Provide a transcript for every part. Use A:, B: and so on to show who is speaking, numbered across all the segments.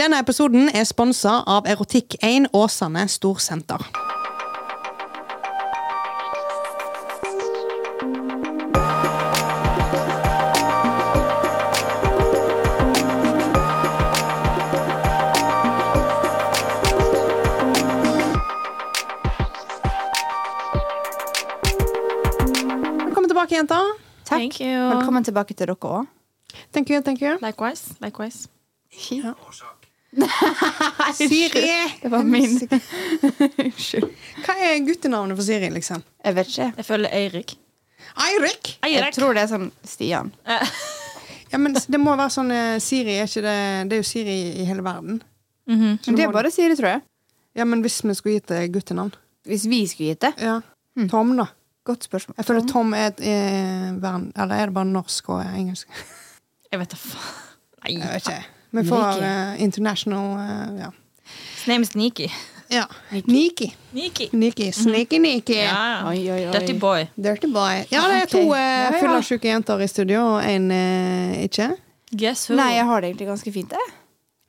A: Denne episoden er sponsa av Erotikk1 Åsane Storsenter. Velkommen tilbake, jenter.
B: Takk.
C: Thank you.
B: Velkommen tilbake til dere òg.
A: Thank you, thank you.
C: Likewise. Likewise.
A: Siri!
B: Det var min. Unnskyld.
A: Hva er guttenavnet for Siri, liksom?
B: Jeg vet ikke.
C: Jeg føler Eirik.
A: Eirik!
B: Jeg tror det er sånn Stian.
A: Ja, men det må være sånn eh, Siri er ikke det Det er jo Siri i hele verden.
C: Mhm.
B: Men det er bare Siri, tror jeg.
A: Ja, men hvis vi skulle gitt det guttenavn?
B: Hvis vi skulle gitt det.
A: Ja. Tom, da.
B: Godt spørsmål.
A: Jeg føler Hmm. Tom er et eh, vern... Eller er det bare norsk og engelsk?
C: Jeg vet da faen.
A: Jeg
C: Nei.
A: vet ikke. Vi får eh, international eh, ja.
C: His name is Niki.
A: ja. Mhm. Niki.
C: Niki.
A: Niki. Sneaky Niki.
C: Ja.
B: Oi, oi, oi.
C: Dirty boy.
A: Dirty boy. Ja, det er to
B: Ok.
A: eh,
B: Ja, ja.
A: fyllesyke jenter i studio, og én eh, ikke.
C: Guess who?
B: Nei, jeg har det egentlig ganske fint, jeg.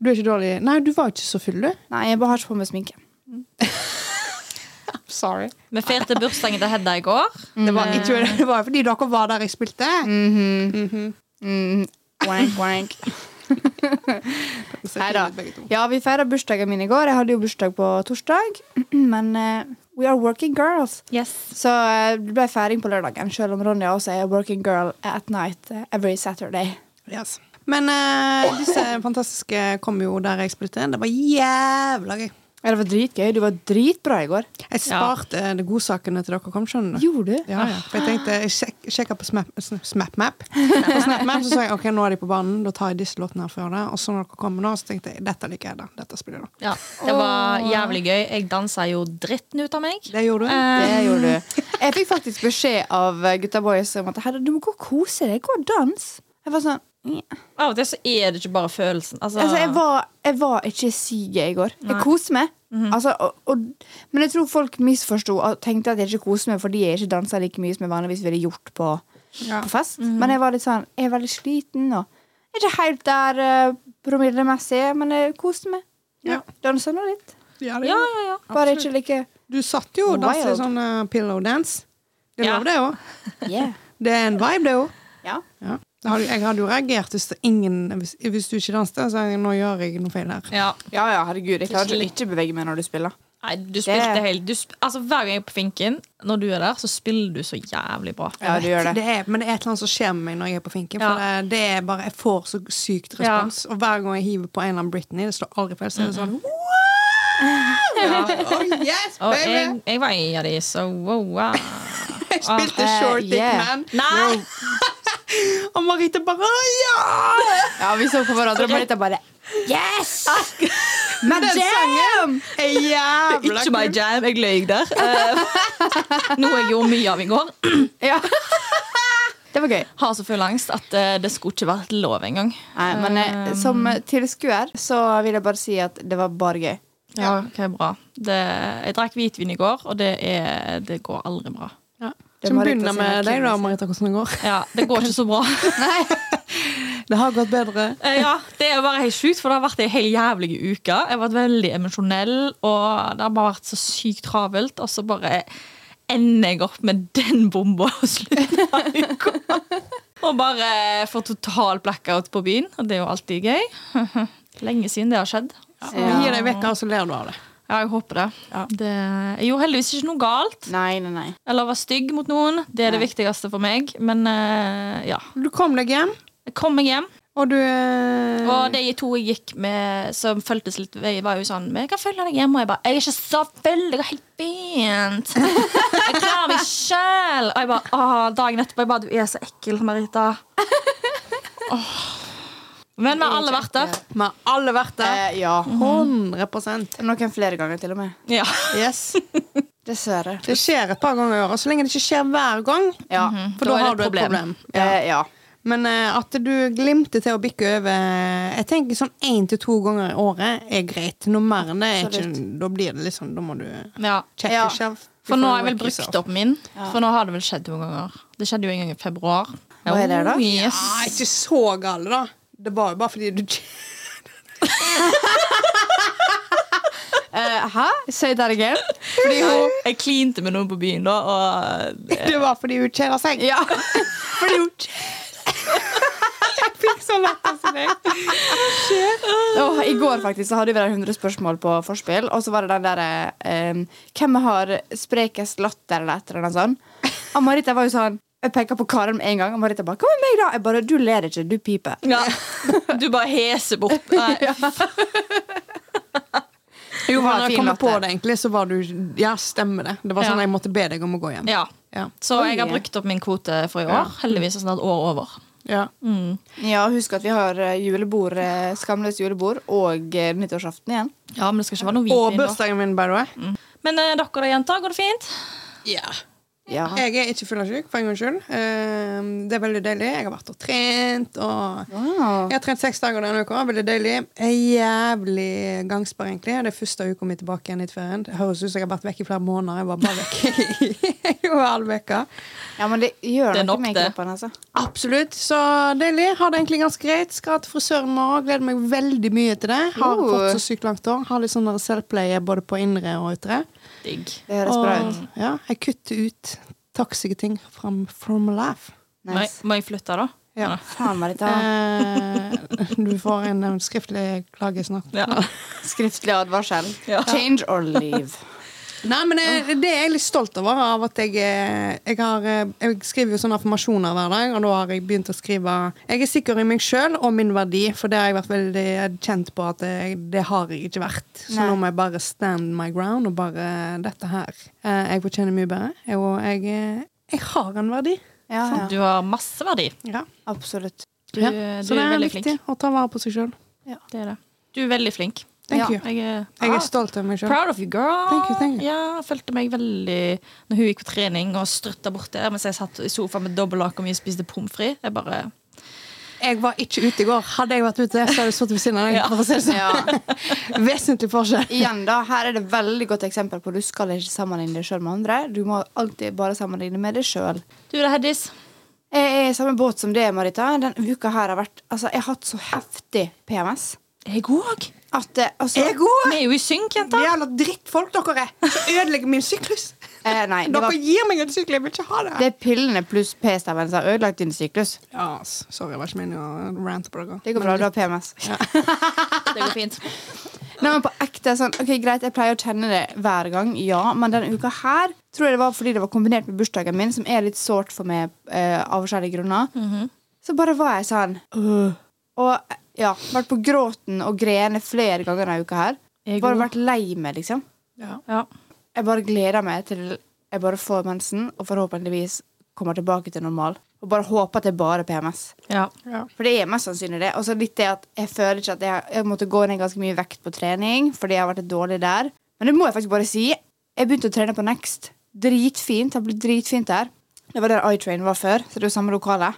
A: Du er ikke dårlig Nei, du var ikke så full, du.
B: Nei, jeg bare har ikke på meg sminke.
A: Sorry.
C: Vi feirte bursdagen til Hedda i går.
A: Det var, jeg tror det, det var fordi dere var der jeg spilte.
B: Mm. Wank, wank.
A: Så
B: Nei da.
A: begge to.
B: Ja, vi feira bursdagen min i går. Jeg hadde jo bursdag på torsdag. Men eh, we are working girls.
C: Yes.
B: Så eh, det ble feiring på lørdagen, selv om Ronja også er a working girl at night eh, every Saturday.
A: Yes. Men eh, disse fantastiske kom jo der jeg spilte. Det var jævla gøy.
B: Ja, det var dritgøy. Du var dritbra i går.
A: Jeg sparte eh, de godsakene til dere kom, skjønner du.
B: Gjorde du?
A: Ja, ja. For jeg tenkte, jeg sjek, sjekka på Smap- Sn- SnapMap, På SnapMap så sa jeg ok, nå er de på banen, da tar jeg disse låtene her før det. Og så når dere kommer nå, så tenkte jeg dette liker jeg, da. Dette spiller jeg da.
C: Ja, det var jævlig gøy. Jeg dansa jo dritten ut av meg.
A: Det gjorde du.
B: Det gjorde du. Eh, Jeg fikk faktisk beskjed av eh, gutta boys om at Hedda, du må gå og kose deg. Gå og dans. Jeg var sånn «Nja».
C: Av og til så er det ikke bare følelsen. Altså,
B: Altså, jeg var, jeg var ikke syk i går. Jeg koste meg. altså, og, og, men jeg tror folk misforsto og tenkte at jeg ikke koste meg fordi jeg ikke dansa like mye som jeg vanligvis ville gjort på,
A: Ja.
B: på fest. Men jeg var litt sånn Jeg er veldig sliten og jeg er ikke helt der eh, promillemessig, men jeg koste meg.
A: Ja.
B: Dansa nå litt.
A: Ja, det
C: ja,
A: gjorde du.
C: ja, ja.
B: Bare
A: Absolutt.
B: ikke like
A: Du satt jo og danset
B: Wild.
A: sånn eh, pillow dance. Det er
C: Ja.
A: lov, det òg.
B: yeah.
A: Det er en vibe, det òg.
B: Ja.
A: Ja. Da hadde- Jeg hadde jo reagert hvis, det ingen, hvis, hvis du ikke danset. Så jeg, nå gjør jeg noe feil her.
C: ja.
B: ja, ja, herregud. Jeg klarer ikke å ikke bevege meg når du spiller.
C: Nei, du spilte helt du sp altså, Hver gang jeg er på finken, når du er der, så spiller du så jævlig bra.
B: Ja, du gjør det.
A: er, men det er et eller annet som skjer med meg når jeg er på finken. For
C: Ja.
A: det, det er bare, Jeg får så sykt respons. Og hver gang jeg hiver på en eller annen Britney, det står aldri feil, så er det sånn wow! Oh, yes,
C: Og
A: baby!
C: jeg, jeg var en av de, så wow. wow.
A: Jeg spilte
B: Ah, eh,
A: Short Dick
B: yeah.
A: Man.
C: Nei!
A: Og Marita bare «Å, Ja!
B: Ja, vi så på hverandre og Marita bare Yes!
A: Ah.
B: Men
A: Den sangen er jævla
C: Ikke my jam, jeg løy der. Eh, Noe jeg gjorde mye av i går.
B: Ja. Det var gøy.
C: Har så full angst at eh, det skulle ikke vært lov engang.
B: Nei,
A: Um.
B: men eh, som tilskuer så vil jeg bare si at det var bare gøy.
C: Ja, ok, bra. Det, jeg drakk hvitvin i går, og det, er, det går aldri bra.
A: Ja.
B: Det
A: Så vi
B: Marita
A: begynner
B: sin
A: med deg, da,
B: erkjennelse.
A: Marita, hvordan det går.
C: Ja, Det går ikke så bra.
A: Det har gått bedre.
C: Eh, Ja, Det er bare helt sjukt, for det har vært ei helt jævlig uke. Jeg har vært veldig emosjonell, og det har bare vært så sykt travelt. Og så bare ender jeg opp med den bomba og slutten av uka. Og bare får total blackout på byen, og det er jo alltid gøy. Lenge siden det har skjedd.
A: Vi
B: Ja.
A: gir deg vekk, og så ler du av det.
C: Ja, jeg håper det. det jeg gjorde heldigvis ikke noe galt.
B: Nei, nei, nei.
C: Eller var stygg mot noen. Det er det
B: Nei.
C: viktigste for meg. Men eh, ja.
A: Du kom deg hjem,
C: Jeg kom meg hjem,
A: og du eh,
C: og de to jeg gikk med som føltes litt Jeg var jo sånn Men jeg kan følge deg hjem. Og jeg bare Jeg er ikke så full, jeg er helt bent. Jeg klarer meg sjøl. Og jeg bare Åh, dagen etterpå jeg bare Du er så ekkel, Marita. Åh. Men vi har alle vært der.
A: Vi har alle vært der.
B: Eh, ja.
A: 100
B: Noen flere ganger, til og med.
C: Ja.
A: Yes.
B: Dessverre.
A: Det skjer et par ganger i året, så lenge det ikke skjer hver gang.
B: Ja.
A: For da,
C: Da er det
A: har du
C: et
A: et
C: problem.
A: problem.
B: Eh, ja.
A: Men eh, at du glimter til å bikke over Jeg tenker sånn én til to ganger i året er greit. Noe mer enn det er ikke
B: Absolutt.
A: Da blir det litt sånn, da må du
C: ja.
A: check
B: Ja.
A: yourself.
C: For nå har jeg vel
A: Before you wreck
C: brukt opp min. For nå har det vel skjedd to ganger. Det skjedde jo en gang i februar.
B: Hva er det da?
C: Oh,
A: yourself.
C: yes.
A: Ah, ikke så gale, da. Det var jo bare fordi du Eh,
B: Hæ? Say that again.
A: Fordi hun,
C: Jeg klinte med noen på byen da, og
A: det var fordi hun kjeder seg.
B: Ja.
C: Fordi hun
A: Fikk så lettest i deg.
B: Åh, I går faktisk så hadde vi der 100 spørsmål på forspill, og så var det den derre ehm, Hvem har sprekest latter, eller et eller annet sånt? Og Marita var jo sånn Jeg peker på Karen med en gang, og Marita bare Hva med meg, da? Jeg bare Du ler ikke, du piper.
C: ja. Du bare heser bort. Nei.
A: Jo, men
B: var
A: når
B: fin
A: jeg kom
B: latter.
A: på det egentlig, så var du Ja, stemmer det. Det var sånn
C: Ja.
A: jeg måtte be deg om å gå hjem.
C: Ja.
A: Ja.
C: Så
B: Oi.
C: jeg har brukt opp min kvote for i
A: Ja.
C: år. Heldigvis er snart år over.
A: Ja.
C: Mm.
B: Ja, husk at vi har eh, julebord, eh, skamløst julebord, og eh, nyttårsaften igjen.
C: Ja, men det skal ikke være noe
A: Og
C: hvitvin. da.
A: bursdagen min, by the way.
C: Men eh, dere da, jenter, går det fint?
A: Ja.
B: Ja.
A: Jeg er ikke fyllesyk, for en gangs skyld. Eh, Det er veldig deilig. Jeg har vært og trent. og...
B: Wow.
A: Jeg har trent seks dager denne uka. Veldig deilig. Jeg er Jævlig gangspar, egentlig. Det er første uka mi tilbake igjen i ferien. Det høres ut som jeg har vært vekk i flere måneder. Jeg var bare vekk i en halv uke.
B: Ja, men det gjør
C: Det er
B: noe
C: nok
B: med
C: det.
B: kroppen, altså.
A: Absolutt. Så deilig. Har det egentlig ganske greit. Skal til frisøren i morgen. Gleder meg veldig mye til det. Har
B: Oh.
A: fått så sykt langt hår. Har litt sånn der selvpleie både på indre og ytre.
C: Digg.
B: Det høres bra ut.
A: ja, jeg kutter ut toxiske ting fra From Life.
C: Må jeg,
B: Nice.
C: må jeg flytte, da?
A: Ja.
B: Faen, Marita.
A: Eh, du får en eh, skriftlig klage snart.
C: Ja.
B: Skriftlig advarsel.
C: Ja.
B: Change or leave.
A: Nei, men eh, Det er jeg litt stolt over. av at Jeg, eh, jeg, har, eh, jeg skriver jo sånne affirmasjoner hver dag, og da har jeg begynt å skrive Jeg er sikker i meg sjøl og min verdi, for det har jeg vært veldig eh, kjent på at det, det har jeg ikke vært. Så
B: Nei.
A: nå må jeg bare stand my ground og bare dette her. Eh, Jeg fortjener mye bedre, jeg- og jeg, eh, jeg har en verdi.
B: Ja, ja.
C: Du har masse verdi.
A: Ja.
B: Absolutt.
C: Du,
A: Ja,
C: du
A: Så det
C: er
A: er
C: veldig
A: viktig
C: flink.
A: å ta vare på seg sjøl.
C: Det er det. Du er veldig flink.
A: Thank
B: Ja.
A: you.
C: Jeg er,
A: Jeg
C: Ah,
A: er stolt av meg sjøl.
C: Proud of you, girl.
A: Thank you, thank you.
C: Ja, jeg følte meg veldig Når hun gikk på trening og strutta bort der mens jeg satt i sofaen med dobbeltlake og vi spiste pommes frites. Jeg bare
A: Jeg var ikke ute i går. Hadde jeg vært ute, så hadde jeg sittet ved siden av deg.
C: Ja.
A: for å si det sånn.
B: Ja.
A: Vesentlig forskjell.
B: Igjen, da. Her er det veldig godt eksempel på du skal ikke sammenligne deg sjøl med andre. Du må alltid bare sammenligne med deg sjøl.
C: Du da, Heddis.
B: Jeg er i samme båt som det, Marita. Denne uka her har vært Altså, jeg har hatt så heftig PMS
C: Jeg òg.
B: at det altså,
C: Vi er jo i synk, jenter.
A: Jævla drittfolk dere er! Som ødelegger min syklus.
B: Eh, nei, det,
A: Dere
B: var,
A: gir meg en sykkel, jeg vil ikke ha det!
B: det er pillene pluss p-staven som har ødelagt din syklus.
A: Ja, ass. sorry, det var ikke meningen å rante på dere.
B: Det går bra, du har PMS.
C: Det går fint.
B: Nei, men på ekte sånn, ok, Greit, jeg pleier å kjenne det hver gang, ja, men denne uka her tror jeg det var fordi det var kombinert med bursdagen min, som er litt sårt for meg eh, av forskjellige grunner. Så bare var jeg sånn øh. Og ja, vært på gråten og grene flere ganger denne uka her.
C: Jeg
B: Bare
C: òg.
B: vært lei meg, liksom.
A: Ja.
C: Ja.
B: Jeg bare gleder meg til jeg bare får mensen og forhåpentligvis kommer tilbake til normal. Og bare håper at det er bare PMS.
C: ja.
A: Ja.
B: For det er mest sannsynlig det. Og så litt det at jeg føler ikke at jeg, jeg måtte gå ned ganske mye vekt på trening, fordi jeg har vært litt dårlig der. Men det må jeg faktisk bare si. Jeg begynte å trene på Next. Dritfint. Det har blitt dritfint der. Det var der iTrain var før, så det er jo samme lokale.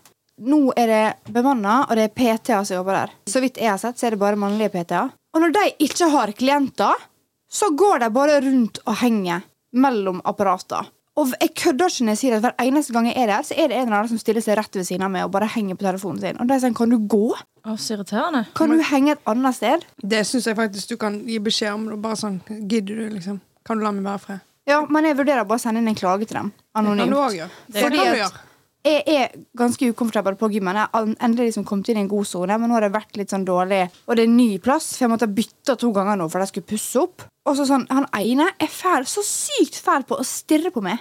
B: Nå er det bemanna, og det er PT-er som jobber der. Så vidt jeg har sett, så er det bare mannlige PT-er. Og når de ikke har klienter, så går de bare rundt og henger mellom apparater. Og jeg kødder ikke når jeg sier at hver eneste gang jeg er der, så er det en eller annen som stiller seg rett ved siden av meg og bare henger på telefonen sin. Og de sier, sånn, kan du gå?
C: Å, så irriterende.
B: Kan du henge et annet sted?
A: Det syns jeg faktisk du kan gi beskjed om. og Bare sånn, Gidder du, liksom? Kan du la meg være i fred?
B: Ja, men jeg vurderer bare å sende inn en klage til dem.
A: Kan du
B: Anonymt.
A: òg gjøre. Det
B: Fordi
A: kan du
B: at-
A: gjøre.
B: Jeg er ganske ukomfortabel på gymmen. Jeg har endelig liksom kommet inn i en god zone, men nå har det vært litt sånn dårlig. Og det er en ny plass, for jeg måtte bytte to ganger nå for de skulle pusse opp. Og så sånn, han ene er fæl, så sykt fæl på å stirre på meg.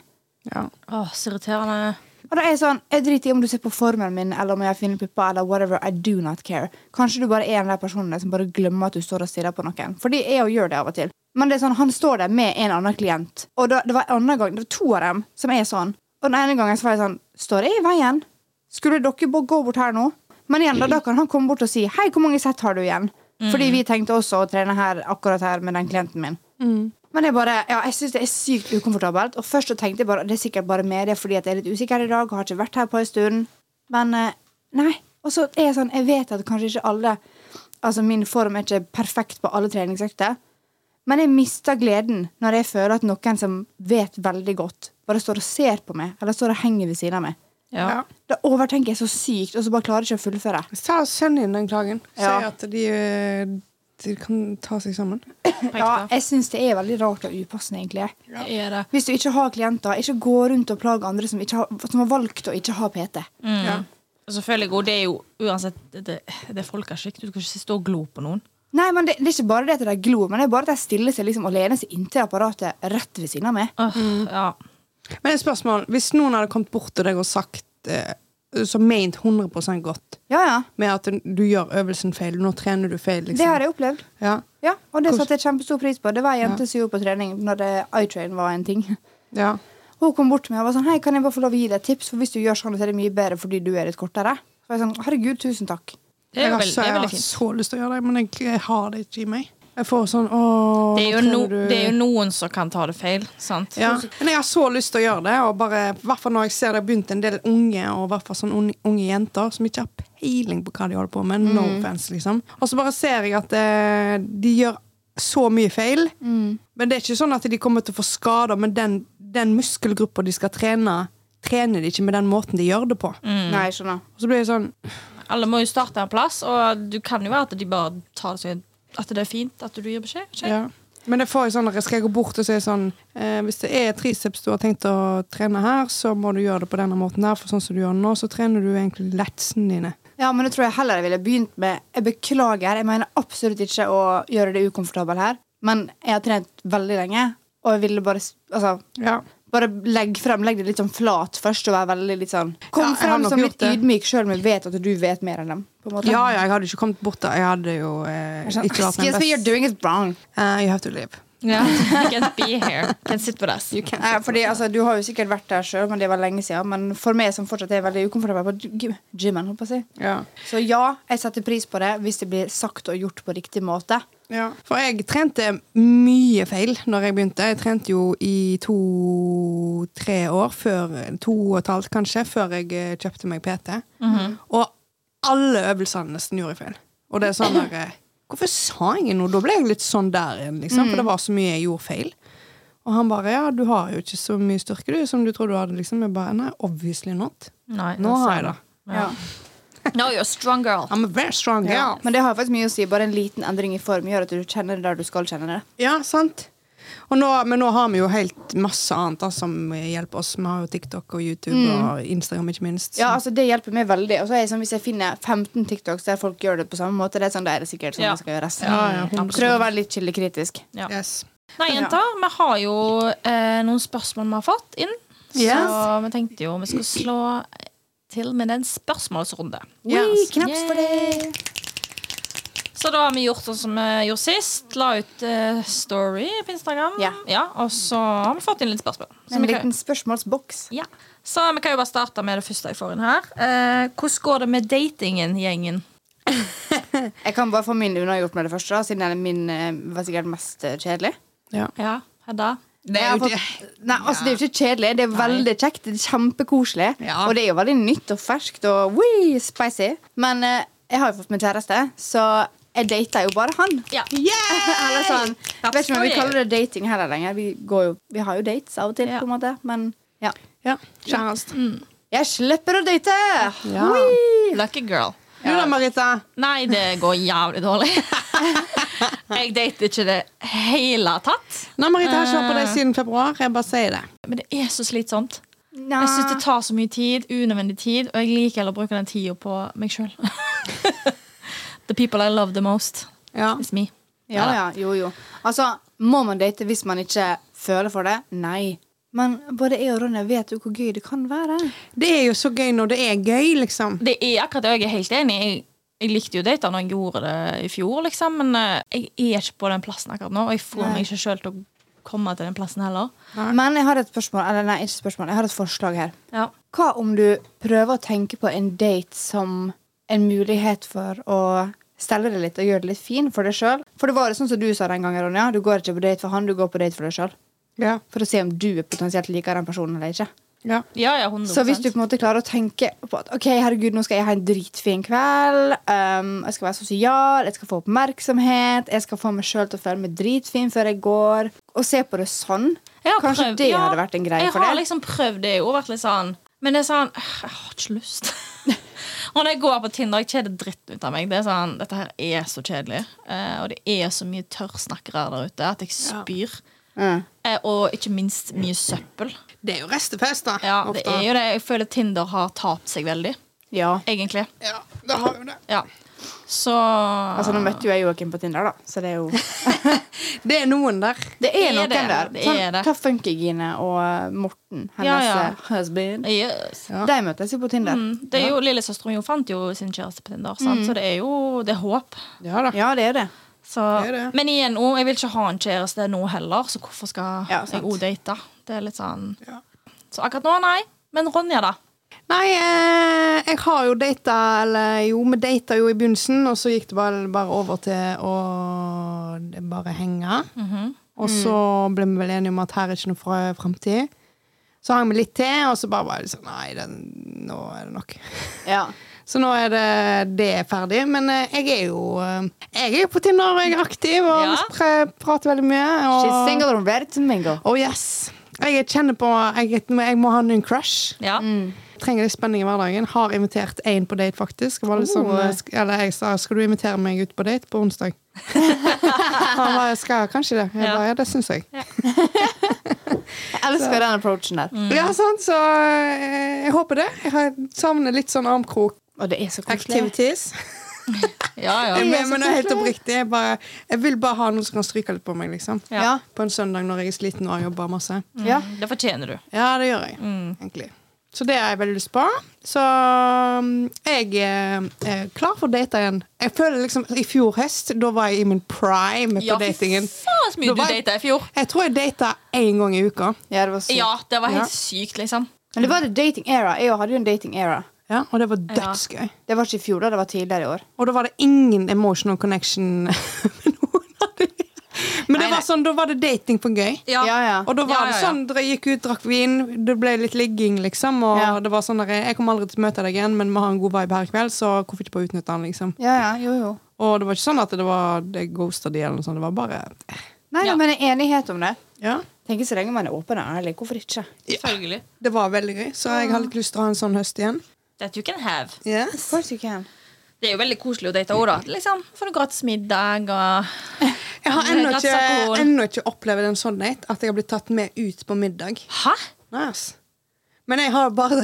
A: Ja.
C: Å, så irriterende.
B: Og da er jeg sånn, jeg driter i om du ser på formen min, eller om jeg har fine pupper, eller whatever, I do not care. Kanskje du bare er en av de personene som bare glemmer at du står og stirrer på noen. Fordi jeg jo gjør det av og til. Men det er sånn, han står der med en annen klient. Og da, det var en annen gang, det var to av dem som er sånn. Og den ene gangen så var jeg sånn, står jeg i veien? Skulle dere bo- gå bort her nå? Men igjen, da, da kan han komme bort og si, hei, hvor mange sett har du igjen? Fordi vi tenkte også å trene her, akkurat her med den klienten min. Men jeg, bare, ja, jeg synes det er sykt ukomfortabelt. Og først så tenkte jeg bare det er sikkert bare med det er fordi at jeg er litt usikker i dag. og Har ikke vært her på en stund. Men eh, nei. Og så er jeg sånn, jeg vet at kanskje ikke alle Altså min form er ikke perfekt på alle treningsøkter. Men jeg mister gleden når jeg føler at noen som vet veldig godt, bare står og ser på meg, eller står og henger ved siden av meg.
C: Ja.
A: Ja.
B: Da overtenker jeg så sykt, og så bare klarer jeg ikke å fullføre.
A: Ta og Send inn den klagen. Si
B: Ja.
A: at de, eh, de kan ta seg sammen.
B: Ja, jeg syns det er veldig rart og upassende, egentlig.
C: Det er det.
B: Hvis du ikke har klienter, ikke gå rundt og plage andre som, ikke har, som har valgt å ikke ha PT.
A: Ja.
C: Mm. Og Selvfølgelig, og det er jo uansett Det, det det er folkeskikk. Du skal ikke stå og glo på noen.
B: Nei, men det, det er ikke bare det at de glor, men det er bare at de stiller seg liksom og lener seg inntil apparatet rett ved siden av meg.
C: Åh,
A: Mm.
C: ja.
A: Men et spørsmål. Hvis noen hadde kommet bort til deg og sagt eh, som ment 100 godt
B: Ja, ja.
A: med at du gjør øvelsen feil, nå trener du feil, liksom.
B: Det har jeg opplevd.
A: Ja.
B: Ja, Og det
A: Hvordan-
B: satte jeg kjempestor pris på. Det var ei jente som gjorde på trening når det- iTrain var en ting.
A: ja.
B: Hun kom bort til meg og var sånn Hei, kan jeg bare få lov å gi deg et tips? For hvis du gjør sånn, så er det mye bedre fordi du er litt kortere. Så var jeg sånn, Herregud, tusen takk.
C: Det er,
A: jeg
C: jo
A: har,
C: veld,
A: så,
C: det er
A: jeg har
C: veldig fint.
A: altså, så lyst til å gjøre det, men jeg, jeg har det ikke i meg. Jeg får sånn Å,
C: Det er, jo
A: trener
C: no,
A: du-
C: det er jo noen som kan ta det feil. sant?
A: ja. Men jeg har så lyst til å gjøre det, og bare, i hvert fall når jeg ser det har begynt en del unge og i hvert fall sånn unge, unge jenter som ikke har peiling på hva de holder på med. No offense, liksom. Og så bare ser jeg at eh, de gjør så mye feil. Men det er ikke sånn at de kommer til å få skader, men den, den muskelgruppa de skal trene, trener de ikke med den måten de gjør det på.
B: Nei, jeg skjønner.
A: Og så blir det sånn
C: Alle må jo starte en plass, og du kan jo være at de bare tar det som at det er fint at du gir beskjed. beskjed.
A: Ja. Men det får jeg sånn, når jeg skal gå bort og si sånn eh, Hvis det er triceps du har tenkt å trene her, så må du gjøre det på denne måten her, for sånn som du gjør nå, så trener du egentlig letsene dine.
B: Ja, men det tror jeg heller jeg ville begynt med Jeg beklager, jeg mener absolutt ikke å gjøre det ukomfortabel her, men jeg har trent veldig lenge, og jeg ville bare s- Altså,
A: Ja.
B: bare legg frem, legg det litt sånn flat først, og være veldig litt sånn Kom
A: Ja, jeg har
B: frem
A: nok
B: som
A: gjort
B: litt
A: det.
B: ydmyk sjøl, men vet at du vet mer enn dem, på en måte.
A: ja, jeg hadde ikke kommet bort da. Jeg hadde jo eh,
B: Jeg er sånn,
A: ikke vært den
B: Excuse me, you're
A: beste.
B: doing it wrong.
A: Eh, you have to live.
C: Ja. You can't be here. Can't sit with us.
B: Nei, fordi altså, Du har jo sikkert vært der sjøl, men det var lenge siden. Men for meg som fortsatt er veldig ukomfortabel på gy- gymmen, holdt på å si.
A: Ja.
B: Så ja, jeg setter pris på det hvis det blir sagt og gjort på riktig måte.
A: Ja. For jeg trente mye feil når jeg begynte. Jeg trente jo i to-tre år, før, to og et halvt kanskje, før jeg eh, kjøpte meg PT. Og alle øvelsene nesten gjorde jeg feil. Og det er sånn der eh, Hvorfor sa jeg noe? Da ble jeg litt sånn der igjen, liksom. For det var så mye jeg gjorde feil. Og han bare Ja, du har jo ikke så mye styrke, du, som du trodde du hadde, liksom. Jeg bare Nei, obviously not.
C: Nei,
A: Nå har jeg det.
B: Ja.
C: No, you're a strong girl.
A: I'm a very strong girl.
B: Ja. Men det har faktisk mye å si. Bare en liten endring i form gjør at du kjenner det der du skal kjenne det.
A: Ja, sant. Og nå, men nå har vi jo helt masse annet da, som hjelper oss. Vi har jo TikTok og YouTube
C: Mm.
A: og Instagram, ikke minst.
B: Ja, altså Det hjelper meg veldig. Og så er jeg sånn, Hvis jeg finner 15 TikToks der folk gjør det på samme måte, det er sånn, da er det sikkert sånn
C: Ja.
B: det skal gjøres.
A: Ja, ja, hundre
B: Prøv å være litt kildekritisk.
C: Ja.
A: Yes.
C: Nei, jenter, vi har jo eh, noen spørsmål vi har fått inn. Så
A: Yes.
C: vi tenkte jo vi skulle slå til med en spørsmålsrunde.
B: Ui,
A: Yes.
B: knaps for det!
C: Så da har vi gjort sånn som vi gjorde sist. La ut eh, story på Instagram.
B: Ja.
C: Og så har vi fått inn litt spørsmål. Så
B: En
C: vi kan-
B: liten spørsmålsboks.
C: Ja. Så vi kan jo bare starte med det første jeg får inn her. Eh, hvordan går det med datingen, gjengen?
B: Jeg kan bare få min unnagjort med det første, da, siden den er min eh, var sikkert mest eh, kjedelig.
A: Ja.
C: Ja, Hedda?
A: Det er
B: Jeg
A: jo
B: har
A: det.
B: fått, nei, altså, det er jo ikke kjedelig. Det er veldig kjekt. Det er kjempekoselig.
A: Ja.
B: Og det er jo veldig nytt og ferskt og wee, spicy. Men eh, jeg har jo fått meg kjæreste, så jeg data jo bare han.
C: Ja.
B: Eller sånn.
C: That's
B: Vet ikke om vi
C: great.
B: kaller det dating heller lenger. Vi, går jo, vi har jo dates av og til,
C: Ja.
B: på en måte. Men ja.
A: Ja. Kjæreste.
C: Mm.
B: Jeg slipper å date!
A: Ja.
B: Wee!
C: Lucky girl.
A: Du da, Marita?
C: Nei, det går jævlig dårlig. jeg dater ikke det hele tatt.
A: Nei, Marita har ikke vært på
C: Eh.
A: deg siden februar. Jeg bare sier det.
C: Men det er så slitsomt.
B: Nei.
C: Jeg syns
B: Ah.
C: det tar så mye tid, unødvendig tid, og jeg liker heller å bruke den tida på meg sjøl. the people I love the most
A: Ja.
C: is me.
B: Ja, ja, jo, jo. Altså, må man date hvis man ikke føler for det? Nei. Men både jeg og Ronja vet jo hvor gøy det kan være.
A: Det er jo så gøy når det er gøy, liksom.
C: Det er akkurat det, og jeg er helt enig. Jeg, jeg likte jo data når jeg gjorde det i fjor, liksom, men eh, jeg er ikke på den plassen akkurat nå, og jeg får meg ikke sjøl til å komme til den plassen heller.
B: Men jeg har et spørsmål, eller nei, ikke spørsmål, jeg har et forslag her.
C: Ja.
B: Hva om du prøver å tenke på en date som en mulighet for å stelle det litt og gjøre det litt fin for deg sjøl? For det var jo sånn som du sa den gangen, Ronja. Du går ikke på date for han, du går på date for deg sjøl.
A: Ja.
B: For å se om du er potensielt liker den personen eller ikke.
A: ja.
C: Ja, ja, 100
B: Så hvis du på en måte klarer å tenke på at Ok, herregud, nå skal jeg ha en dritfin kveld. ehm, jeg skal være sosial, jeg skal få oppmerksomhet. Jeg skal få meg sjøl til å føle meg dritfin før jeg går. Og se på det sånn.
C: Jeg har
B: Kanskje
C: prøvd-
B: det
C: ja,
B: hadde vært en greie
C: jeg
B: for
C: Jeg har
B: deg?
C: liksom prøvd det og vært litt sånn Men det er sånn øh, Jeg har ikke lyst. Og når jeg går på Tinder, jeg kjeder dritten ut av meg. Det er sånn, dette her er så kjedelig. Eh, og det er så mye tørrsnakkere der ute at jeg spyr.
B: Ja.
C: Eh, og ikke minst mye søppel.
A: Det er jo restefest, da.
C: Ja, det er jo det. Jeg føler Tinder har tapt seg veldig,
B: ja.
C: egentlig.
A: Ja, det har jo det.
C: Ja. Så
B: Altså, nå møtte jo jeg Joakim på Tinder, da, så det er jo
A: Det er noen der.
B: Det er
C: er
B: noen
C: det,
B: der.
C: det
B: Sånn,
C: er det.
B: Ta Funkygine og eh, Morten, hennes
C: Ja, ja.
B: eh, husband.
C: Yes.
B: De møtes jo på Tinder.
C: Mm, Det er jo Lillesøsteren jo fant jo sin kjæreste på Tinder,
B: Mm.
C: sant? så det er jo det er håp.
A: Ja da.
B: Ja, det er det.
C: Så,
A: Det er det.
C: Men igjen, også, jeg vil ikke ha en kjæreste nå heller, så hvorfor skal
B: Ja,
C: jeg
B: sant.
C: òg date? Det er litt sånn
A: Ja.
C: Så akkurat nå, nei. Men Ronja, da?
A: Nei, eh, jeg har jo data Eller jo, vi data jo i begynnelsen, og så gikk det bare, bare over til å det bare henge.
B: Mhm.
A: Og så ble vi vel enige om at her er ikke noe fra framtid. Så hang vi litt til, og så bare var det sånn Nei, det, nå er det nok.
B: Ja.
A: Så nå er det, det er ferdig. Men eh, jeg er jo eh, Jeg er på Tinder, og jeg er aktiv og
C: Ja.
A: vi pre- prater veldig mye. Og,
B: She's single and ready to mingle.
A: Oh yes. Jeg kjenner på Jeg, jeg må ha en ny crush.
C: Ja.
A: Mm. Trenger litt spenning i hverdagen. Har invitert én på date, faktisk. Jeg var litt sånn,
B: Oh.
A: eh, sk- eller jeg sa 'skal du invitere meg ut på date på onsdag'? Han var, skal kanskje det. Jeg
C: Ja.
A: ba, ja, det syns jeg.
B: Jeg elsker den approachen der.
A: Ja, sant, Så eh, jeg håper det. Jeg har- savner litt sånn armkrok-activities.
B: Og det er så koselig.
C: Ja, ja.
A: Jeg
B: Det er
A: mener,
B: så
A: men det er helt
B: koselig.
A: oppriktig. Jeg, bare, jeg vil bare ha noen som kan stryke litt på meg, liksom.
C: Ja.
B: Ja.
A: På en søndag når jeg er sliten og har jobba masse.
B: Ja.
C: Mm, Det fortjener du.
A: Ja, det gjør jeg.
C: Mm.
A: egentlig. Så det har jeg veldig lyst på. Så um, jeg eh, er klar for å date igjen. Jeg føler liksom, I fjor høst da var jeg i min prime
C: Ja,
A: på datingen.
C: fy faen så mye
A: Da
C: du
A: var jeg-
C: data i fjor.
A: Jeg tror jeg data én gang i uka.
B: Ja, det var sykt.
C: Ja, det var
A: Ja.
C: helt sykt, liksom.
B: Men det var the dating era. Jeg hadde jo en dating era.
A: Ja, og det var
C: Ja.
A: dødsgøy.
B: Det var ikke i fjor, da. Det var tidligere i år.
A: Og da var det ingen emotional connection med noen av dem. Men det
B: Nei, nei.
A: var sånn, da var det dating for gøy.
C: Ja.
B: Ja, ja.
A: Og da var
C: Ja, ja,
A: det
C: ja.
A: sånn, dere gikk ut, drakk vin, det ble litt ligging, liksom. Og
B: Ja.
A: det var sånn, der, jeg kommer aldri til å møte deg igjen, men vi har en god vibe her i kveld, så hvorfor ikke bare utnytte den, liksom.
B: Ja, ja, jo, jo.
A: Og det var ikke sånn at det var det ghosta de, eller noe sånt. Det var bare eh.
B: Nei,
C: Ja.
B: nei, men det er enighet om det.
A: Ja.
B: Tenker så lenge man er åpen og ærlig. Hvorfor ikke?
C: Selvfølgelig.
A: Det var veldig gøy, så jeg har litt lyst til å ha en sånn høst igjen.
C: That you can have.
B: Of course you can.
C: Det er jo veldig koselig å date òg, da. Liksom, Får du gratis middag og
A: Jeg har ennå
C: Glass
A: ikke,
C: alkohol.
A: ennå ikke opplevd en sånn date, at jeg har blitt tatt med ut på middag.
C: Hæ?
A: Nei, ass. Men jeg har bare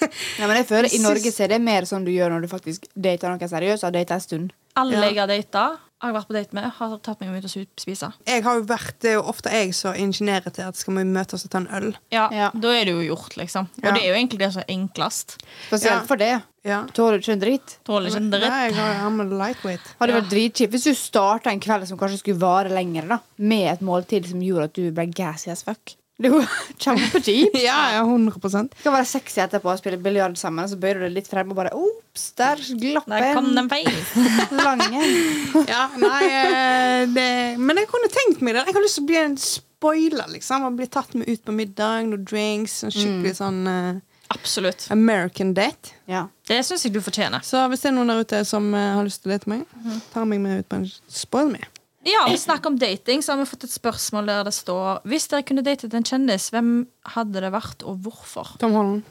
B: Nei, men jeg føler I
A: Syns-
B: Norge så er det mer sånn du gjør når du faktisk dater noen seriøst. Og har datet en stund.
C: Alle
A: Ja.
C: jeg har data, har jeg vært på date med, har tatt meg med ut og su- spise.
A: Jeg har jo vært, Det er jo ofte jeg som ingeniører til at skal vi møtes og ta en øl.
C: Ja,
B: Ja.
C: Da er det jo gjort, liksom. Og
A: Ja.
C: det er jo egentlig det som er enklest.
B: Spesielt
A: Ja.
B: for det.
A: Ja.
B: Tåler du ikke en dritt?
C: Tåler ikke en dritt.
A: Nei, jeg har, I'm a lightweight.
B: Hadde vært dritkjipt hvis du starta en kveld som kanskje skulle vare lenger, da, med et måltid som gjorde at du ble gassy as fuck. Det er jo kjempekjipt.
A: Ja, ja, 100
B: Skal være sexy etterpå og spille biljard sammen, så bøyer du deg litt frem og bare Ops, der glapp
C: Der kom den
B: en
C: veien.
B: lang en.
A: Ja, nei, eh, det, men jeg kunne tenkt meg det. Jeg har lyst til å bli en spoiler, liksom. Og bli tatt med ut på middag, noen drinks, en skikkelig
C: Mm.
A: sånn eh,
C: Absolutt.
A: American date.
B: Ja.
C: Det syns jeg du fortjener.
A: Så hvis det er noen der ute som eh, har lyst til å date meg,
C: Mhm.
A: ta meg med ut på en spoil me.
C: Ja, og Snakk om dating, så har vi fått et spørsmål der det står Hvis dere kunne datet en kjendis, hvem hadde det vært, og hvorfor?
A: Tom Holland.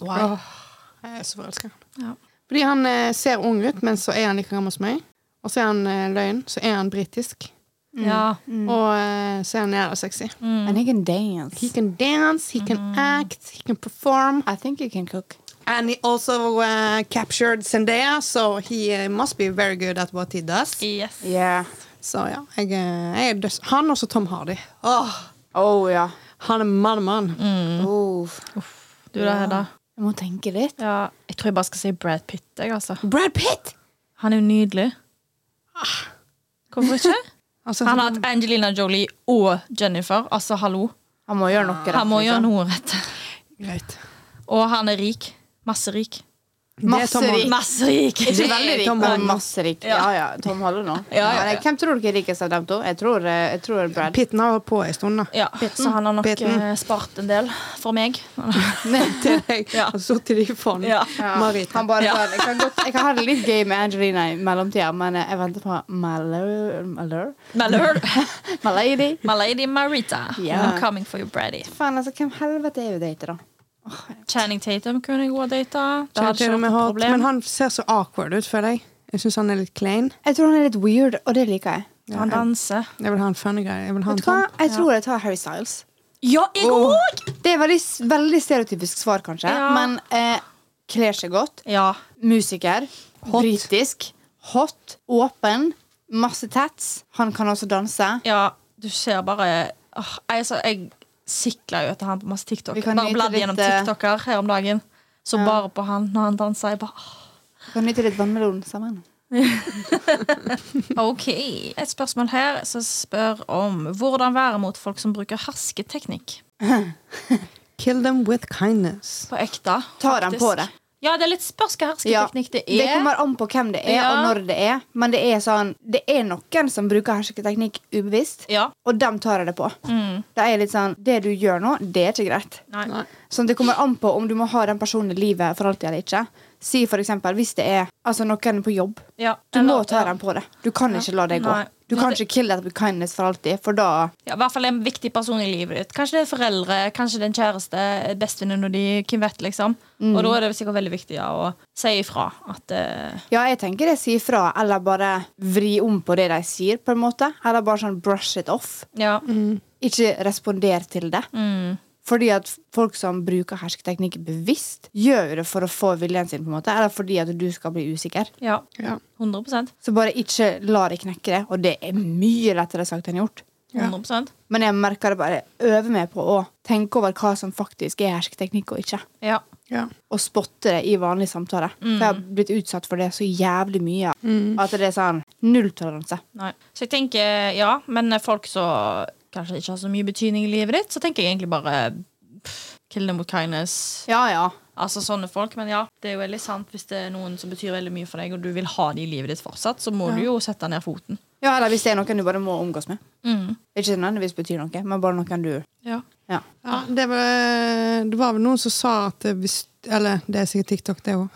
C: Wow.
A: Åh, jeg er så forelska.
C: Ja.
A: Fordi han eh, ser ung ut, men så er han like gammel som meg. Og så er han eh, løgn. Så er han britisk.
C: Ja.
A: Og eh, så er han jævla sexy.
C: Mm.
B: And you can
A: He
B: dance.
A: can dance, he can act, he can perform.
B: I think you can cook.
A: And he also uh, captured Zendaya, so he uh, must be very good at what he does.
C: Yes.
B: Yeah.
A: Så ja, jeg, eh, jeg er døds... Han og så Tom Hardy. Åh,
B: Oh, ja.
A: han er mann, mann.
B: Mm.
C: Mm.
B: Uff.
C: Du da, Hedda?
B: Jeg må tenke litt.
C: Ja, jeg tror jeg bare skal si Brad Pitt. Jeg, altså. Ah.
A: Brad Pitt!
C: Han er jo nydelig. Hvorfor ikke?
A: Altså,
C: Han har hatt Angelina Jolie og Jennifer. Altså, hallo.
B: Han må gjøre noe. rett,
C: Han må gjøre
B: liksom.
C: noe rett.
A: Greit.
C: Og han er rik. Masse rik.
A: Det er Tom
B: Masse
A: Holland.
C: Masse rik!
B: Ikke veldig rik,
A: Tom
B: men
A: Holland.
B: masse rik. Ja,
C: Ja.
B: ja, Tom Holland nå.
C: Ja, ja,
B: Men,
C: ja.
B: Hvem tror dere er rikest av dem to? Jeg tror, eh, jeg tror Brad.
A: Pitten har holdt på en stund, da.
C: Ja, så han har nok
A: Pitten.
C: eh, spart en del for meg.
A: Til deg.
C: Ja.
A: Og så til de fond.
C: Ja.
A: Marita.
B: Han bare
C: Ja.
B: sånn, jeg, kan godt, jeg kan ha det litt gøy med Angelina i mellomtida, men eh, jeg venter på Mallow Mallow?
C: Malheur.
B: Malady?
C: My lady Marita,
B: Ja.
C: I'm coming for you, Brady.
B: Faen, altså, hvem helvete er jo date, da?
C: Channing Tatum kunne jeg også date. Det hadde
A: Channing
C: ikke vært
A: Tatum er
C: noe
A: hot,
C: problem.
A: men han ser så awkward ut, føler jeg. Jeg syns han er litt klein.
B: Jeg tror han er litt weird, og det liker jeg.
C: Han danser.
A: Jeg vil ha en funny guy. Jeg vil ha en
B: Vet du hva?
A: sånn.
B: Jeg tror jeg tar Harry Styles.
C: Ja, jeg
B: Oh.
A: Åh.
C: òg!
B: Det er veldig, veldig stereotypisk svar, kanskje,
C: Ja.
B: men eh, kler seg godt.
C: Ja.
B: Musiker. Britisk. Hot. Åpen. Masse tats. Han kan også danse.
C: ja, du ser bare Åh, jeg, altså, jeg sikla jo etter han på masse TikTok.
B: Vi kan
C: Bare
B: nyte
C: bladde
B: litt,
C: gjennom
B: eh,
C: TikToker her om dagen. Så bare på han når han danser. Jeg bare åh,
B: Kan nyte litt vannmelon sammen.
C: OK. Et spørsmål her som spør om hvordan være mot folk som bruker hersketeknikk.
A: Kill them with kindness.
C: På ekte.
B: Tar han
C: faktisk.
B: på det?
C: Ja, det er litt spørs hva hersketeknikk det er.
B: Det kommer an på hvem det er,
C: Ja.
B: og når det er. Men det er sånn, det er noen som bruker hersketeknikk ubevisst,
C: Ja.
B: og dem tar jeg det på.
C: Mm.
B: Da er jeg litt sånn, Det du gjør nå, det er ikke greit.
C: Nei.
A: Nei.
B: Sånn, Det kommer an på om du må ha den personen i livet for alltid eller ikke. Si for eksempel, Hvis det er altså, noen på jobb.
C: Ja,
B: Du
C: eller-
B: må ta den på det. Du kan ikke la det gå.
C: Nei.
B: Du kan ikke kill that with kindness for alltid, for da
C: Ja, I hvert fall en viktig person i livet ditt. Kanskje det er foreldre, kanskje det er en kjæreste, bestevenninne og de, hvem vet, liksom. Og da er det sikkert veldig viktig ja, å si ifra at eh,
B: Ja, jeg tenker jeg sier fra, eller bare vri om på det de sier, på en måte. Eller bare sånn brush it off.
C: Ja.
B: Ikke responder til det.
C: Mm.
B: Fordi at folk som bruker hersketeknikk bevisst, gjør jo det for å få viljen sin, på en måte. Eller fordi at du skal bli usikker.
C: ja.
A: Ja.
C: 100 100
B: Så bare ikke la det knekke det. Og det er mye lettere sagt enn gjort. Men jeg merker det bare. Øve meg på å tenke over hva som faktisk er hersketeknikk og ikke.
C: Ja.
A: Ja.
B: Og spotte det i vanlig samtale. For jeg har blitt utsatt for det så jævlig mye at det er sånn nulltoleranse.
C: Nei. Så jeg tenker, ja, men folk som kanskje ikke har så mye betydning i livet ditt, så tenker jeg egentlig bare pff, kill them with kindness.
B: Ja, ja.
C: Altså sånne folk, men ja, det er jo veldig sant hvis det er noen som betyr veldig mye for deg, og du vil ha det i livet ditt fortsatt, så må du jo sette ned foten.
B: Ja, eller hvis det er noen du bare må omgås med.
C: Mm.
B: Ikke nødvendigvis betyr noe, men bare noen du
C: Ja.
B: Ja.
A: Ja, det, var, eh, det var vel noen som sa at det hvis, Eller det er sikkert TikTok, det òg.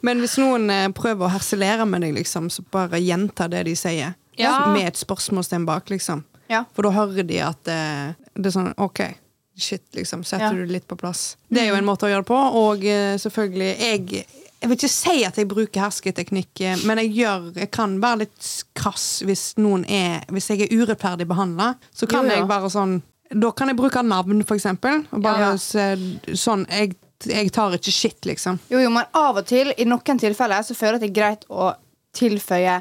A: Men hvis noen eh, prøver å herselere med deg, liksom, så bare gjenta det de sier.
C: Ja.
A: Med et spørsmålstegn bak, liksom.
B: Ja.
A: For da hører de at eh, det er sånn OK, shit, liksom. Setter
B: Ja.
A: du det litt på plass. Det er jo en måte å gjøre det på, og eh, selvfølgelig jeg jeg vil ikke si at jeg bruker hersketeknikk, eh, men jeg, gjør, jeg kan være litt krass hvis, noen er, hvis jeg er urettferdig behandla. Så kan
B: Jo, ja.
A: jeg være sånn Da kan jeg bruke navn, for eksempel. Og bare
B: Ja.
A: se- sånn jeg, jeg tar ikke shit, liksom.
B: Jo, jo, men av og til, i noen tilfeller, så føler jeg at det er greit å tilføye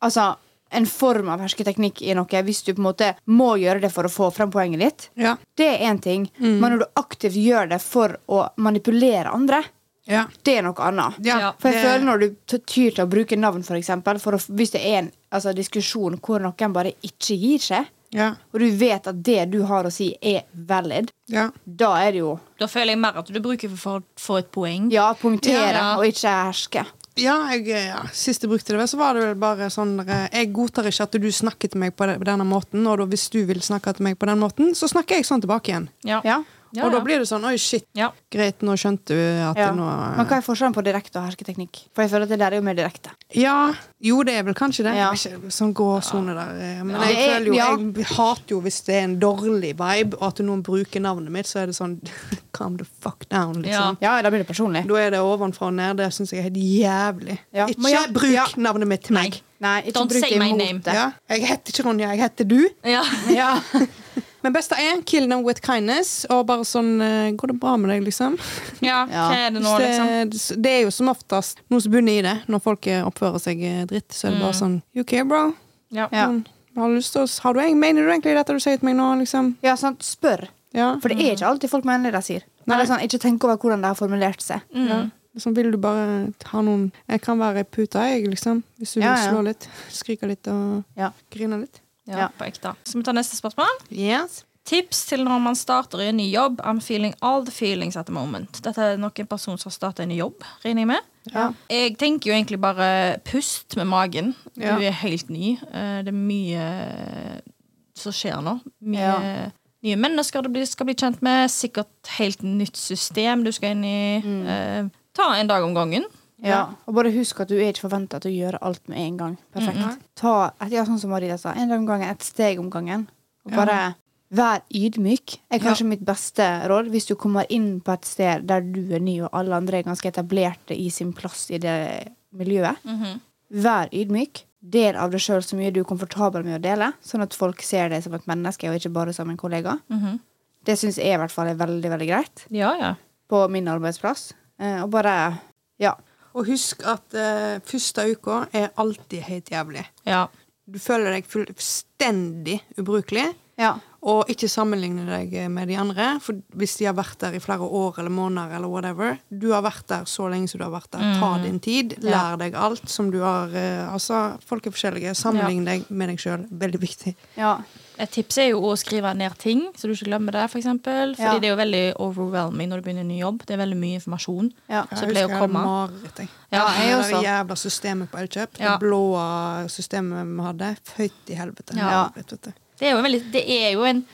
B: altså, en form av hersketeknikk i noe, hvis du på en måte må gjøre det for å få frem poenget ditt.
A: Ja.
B: Det er én ting, men når du aktivt gjør det for å manipulere andre,
A: Ja.
B: det er noe annet.
C: Ja,
B: For jeg
A: det-
B: føler når du t- tyr til å bruke navn, for eksempel, for å, f- hvis det er en altså, diskusjon hvor noen bare ikke gir seg,
A: ja,
B: og du vet at det du har å si, er valid,
A: ja.
B: da er det jo
C: Da føler jeg mer at du bruker for å få et poeng.
B: ja, punktere
C: Ja, ja.
B: og ikke herske.
A: Ja, jeg, eh, ja, Sist jeg brukte det, vel, så var det vel bare sånn eh, Jeg godtar ikke at du snakker til meg på de- på denne måten, og da, hvis du vil snakke til meg på den måten, så snakker jeg sånn tilbake igjen.
C: Ja.
B: Ja.
C: Ja,
A: og da
C: ja.
A: blir det sånn Oi, shit.
C: Ja.
A: Greit, nå skjønte du at
B: Ja.
A: det nå
B: Men hva er forskjellen på direkte og hersketeknikk? For jeg føler at det der er jo mer direkte.
A: eh, Ja, jo, det er vel kanskje det.
B: Ja.
A: Jeg er Ikke sånn gråsone der. eh, Men
B: Ja.
A: jeg
B: Det er-
A: føler jo
B: ja.
A: Jeg hater jo hvis det er en dårlig vibe, og at noen bruker navnet mitt, så er det sånn Calm the fuck down, liksom.
B: Ja, da blir det personlig.
A: Da er det ovenfra og ned. Det syns jeg er helt jævlig.
B: Ja.
A: Ikke
B: Men ja,
A: bruk
B: ja.
A: navnet mitt til meg.
B: Nei, ikke
C: Don't
B: bruk
C: say
B: det
C: my
B: imot
C: name.
B: det.
A: Ja. Jeg heter ikke Ronja, jeg heter du.
C: Ja.
B: Ja.
A: Men best av er kill them with kindness. Og bare sånn eh, Går det bra med deg, liksom?
C: ja. Hva er det nå, liksom?
A: det, det er jo som oftest noe som bunner i det. Når folk eh, oppfører seg eh, dritt, så er det bare sånn You okay, bro?
C: Ja.
B: Ja.
A: Sånn, har du lyst til å s- har du, eng- Mener du egentlig dette du sier til meg nå, liksom?
B: ja, sant. Spør.
A: Ja.
B: For det er ikke alltid folk mener det de sier. Eller sånn, ikke tenk over hvordan de har formulert seg.
C: Mm.
A: ja. Sånn, vil du bare ha noen Jeg kan være ei pute, jeg, liksom. Hvis du
B: Ja,
A: vil
B: ja.
A: slå litt. Skrike litt og
B: Ja.
A: grine litt.
C: Ja,
B: Ja.
C: på ekte. Skal vi ta neste spørsmål?
A: Yes.
C: Tips til når man starter i en ny jobb. I'm feeling all the feelings at the moment. Dette er nok en person som har startet en ny jobb, regner jeg med.
A: Ja.
C: Jeg tenker jo egentlig bare pust med magen.
A: Ja.
C: Du er helt ny. Eh, Det er mye eh, som skjer nå. Mye
B: Ja.
C: nye mennesker du blir- skal bli kjent med. Sikkert helt nytt system du skal inn i.
A: Mm.
C: Eh, Ta en dag om gangen.
B: Ja. Og bare husk at du er ikke forventa til å gjøre alt med en gang. Perfekt. Ta et, ja, sånn som Maria sa, en dag om gangen, et steg om gangen. Og bare Vær ydmyk er kanskje mitt beste råd hvis du kommer inn på et sted der du er ny, og alle andre er ganske etablerte i sin plass i det miljøet. Vær ydmyk. Del av deg sjøl så mye du er komfortabel med å dele, sånn at folk ser deg som et menneske og ikke bare som en kollega.
C: Mhm.
B: Det syns jeg i hvert fall er veldig, veldig greit
C: Ja, ja.
B: på min arbeidsplass. Eh, og bare Ja.
A: Og husk at eh, første uka er alltid helt jævlig.
C: ja.
A: Du føler deg fullstendig ubrukelig.
B: Ja.
A: Og ikke sammenligne deg med de andre, for hvis de har vært der i flere år eller måneder, eller whatever, du har vært der så lenge som du har vært der. Ta
C: Mm.
A: din tid, lær deg alt som du har eh, Altså, folk er forskjellige. Sammenlign deg med deg sjøl. Veldig viktig.
B: ja.
C: Et tips er jo å skrive ned ting, så du ikke glemmer det. For eksempel. Fordi
B: Ja.
C: det er jo veldig overwhelming når du begynner en ny jobb. Det er veldig mye informasjon
B: Ja.
C: som pleier å komme.
A: mareritt, jeg.
C: Ja,
B: jeg
A: det
B: også.
A: der jævla systemet på Elkjøp.
C: Ja.
A: Det blå systemet vi hadde. Høyt i helvete.
C: Ja.
A: Helvete, Vet du.
C: Det er jo en veldig Det er jo en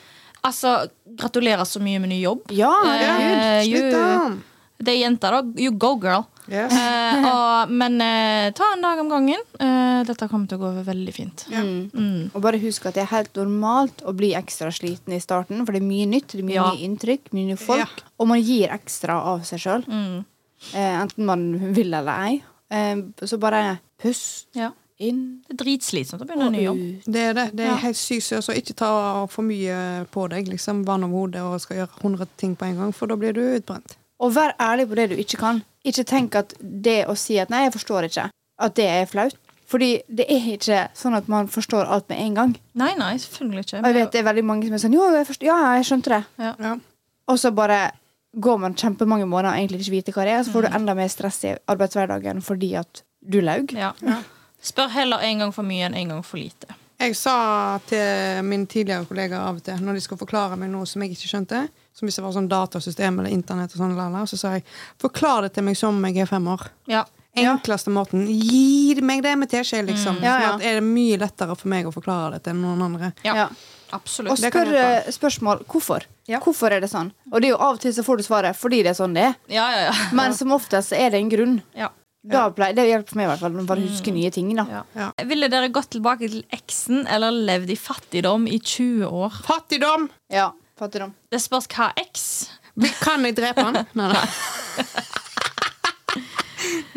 C: Altså, gratulerer så mye med ny jobb.
B: Ja,
C: Eh,
A: Herregud, slutt,
C: jo.
A: da!
C: Det er jenta, da. You go, girl.
A: Yes.
C: Eh, og, men eh, ta en dag om gangen. Eh, dette kommer til å gå veldig fint.
A: Ja.
C: Mm.
B: Og bare husk at det er helt normalt å bli ekstra sliten i starten, for det er mye nytt, det er mye
C: Ja.
B: nye inntrykk, mye nye folk,
A: Ja.
B: og man gir ekstra av seg sjøl,
C: Mm.
B: eh, enten man vil eller ei. Eh, så bare pust
C: Ja.
B: inn
C: Det er dritslitsomt å begynne en
B: og
C: ny jobb.
B: ut.
A: Det er det. Det er
C: Ja.
A: helt sykt søs. Og ikke ta for mye på deg. liksom Vann om hodet og skal gjøre 100 ting på en gang, for da blir du utbrent.
B: Og vær ærlig på det du ikke kan. Ikke tenk at det å si at 'nei, jeg forstår ikke', at det er flaut. Fordi det er ikke sånn at man forstår alt med en gang.
C: Nei, nei, selvfølgelig ikke.
B: Og jeg vet det er veldig mange som er sånn 'jo, jeg forstår, ja, jeg skjønte det'.
A: Ja.
B: Og så bare går man kjempemange måneder og egentlig ikke vite hva det er, og så
A: Mm.
B: får du enda mer stress i arbeidshverdagen fordi at du laug.
C: Ja. Spør heller en gang for mye enn en gang for lite.
A: Jeg sa til min tidligere kollega av og til, når de skulle forklare meg noe som jeg ikke skjønte, som hvis det var sånn datasystem eller internett, og sånn, lala, så sa jeg forklar det til meg som om jeg er fem år.
C: Ja.
A: Enkleste måten. Gi meg det med teskje, liksom.
B: Ja, ja.
A: Sånn at er det mye lettere for meg å forklare det til noen andre.
C: Ja.
B: Ja.
C: Absolutt.
B: Og
A: Det kan
B: spør
A: hjelpe.
B: eh, spørsmål hvorfor.
A: Ja.
B: Hvorfor er det sånn? Og det er jo av og til så får du svaret fordi det er sånn det er.
C: Ja, ja, ja.
B: Men som oftest så er det en grunn.
C: ja.
B: Da pleier, det hjelper meg i hvert fall når man husker nye ting. da
C: ja.
A: Mm. Ja.
C: Ville dere gått tilbake til eksen eller levd i fattigdom i 20 år?
A: Fattigdom!
B: Ja, fattigdom.
C: Det spørs hva eks.
A: Vi- Kan jeg drepe han? Nei, nei.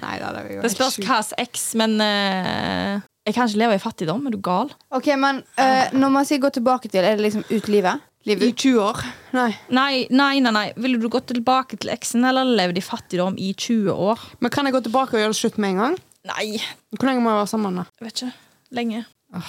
A: Nei, da, det er jo
C: Det spørs
A: helt sjukt.
C: hva eks, men eh, Jeg kan ikke leve i fattigdom. Er du gal?
B: Ok, men eh, Når man sier gå tilbake til, er det liksom ut livet?
A: I
B: Livet ut?
A: 20 år. Nei.
C: Nei, nei, nei. nei. Ville du gått tilbake til eksen eller levd i fattigdom i 20 år?
A: Men kan jeg gå tilbake og gjøre det slutt med en gang?
C: Nei,
A: Hvor lenge må jeg være sammen, da?
C: jeg vet ikke. Lenge.
A: Jeg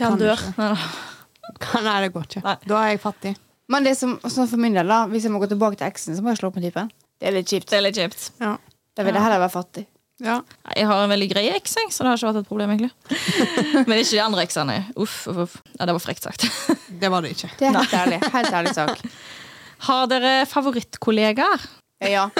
C: Til han
A: kan
C: dør.
A: ikke.
C: Nei, nei.
A: Nei, det går ikke.
C: Nei.
A: Da er jeg fattig.
B: Men det som, sånn for min del, da hvis jeg må gå tilbake til eksen, så må jeg slå opp med typen. Det er litt kjipt.
C: Det er litt kjipt.
A: Ja.
B: Da vil jeg heller være fattig.
A: Ja.
C: Nei, Jeg har en veldig grei eks, jeg, så det har ikke vært et problem. egentlig Men ikke de andre eksene. Uff, uff, uff. Ja, Det var frekt sagt.
A: Det var det ikke.
B: Det er helt ærlig. Helt ærlig sak.
C: Har dere favorittkollegaer?
B: Ja.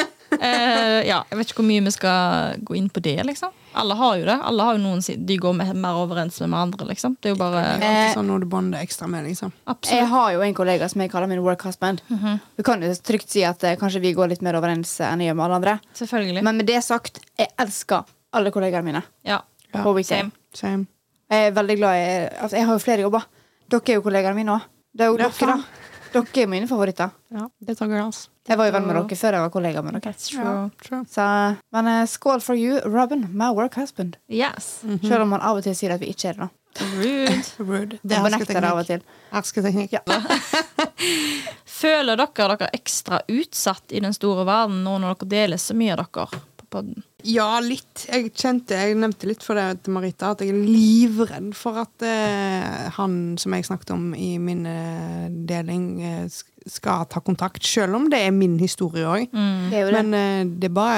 C: Eh, ja, jeg vet ikke hvor mye vi skal gå inn på det. liksom Alle har jo det. Alle har jo noen si- De går med, mer overens med hverandre. liksom Det er jo bare
A: Det er alltid sånn noe du bonder ekstra med, liksom.
C: absolutt
B: Jeg har jo en kollega som jeg kaller min work husband.
A: Mhm.
B: Vi kan jo trygt si at eh, kanskje vi går litt mer overens eh, enn jeg gjør med alle andre.
C: Selvfølgelig.
B: Men med det sagt, jeg elsker alle kollegaene mine.
C: ja.
A: Ja,
B: på weekday.
C: Same.
A: Same.
B: Jeg er veldig glad i altså, Jeg har jo flere jobber. Dere er jo kollegaene mine òg. Det er jo
A: Ja,
B: dere, da. Dere er mine favoritter.
A: Ja, det tar jeg, altså.
B: Jeg var jo venn med dere før jeg var kollega med dere.
C: That's true.
A: True.
B: Så, men eh, skål for you, Robin, my work husband.
C: Yes.
A: Mhm.
B: Selv om han av og til sier at vi ikke er det. da.
C: Rude.
A: Rude. Det
B: Det
A: er
B: benekter det av
A: hersketeknikk.
B: og til.
A: Hersketeknikk.
B: Ja.
C: Føler dere dere ekstra utsatt i den store verden nå når dere deler så mye av dere på podden?
A: Ja, litt. Jeg kjente, jeg nevnte litt for det til Marita, at jeg er livredd for at eh, han som jeg snakket om i min eh, deling, eh, sk- skal ta kontakt. Selv om det er min historie òg.
C: Mm.
B: Det er jo det.
A: Men eh, det er bare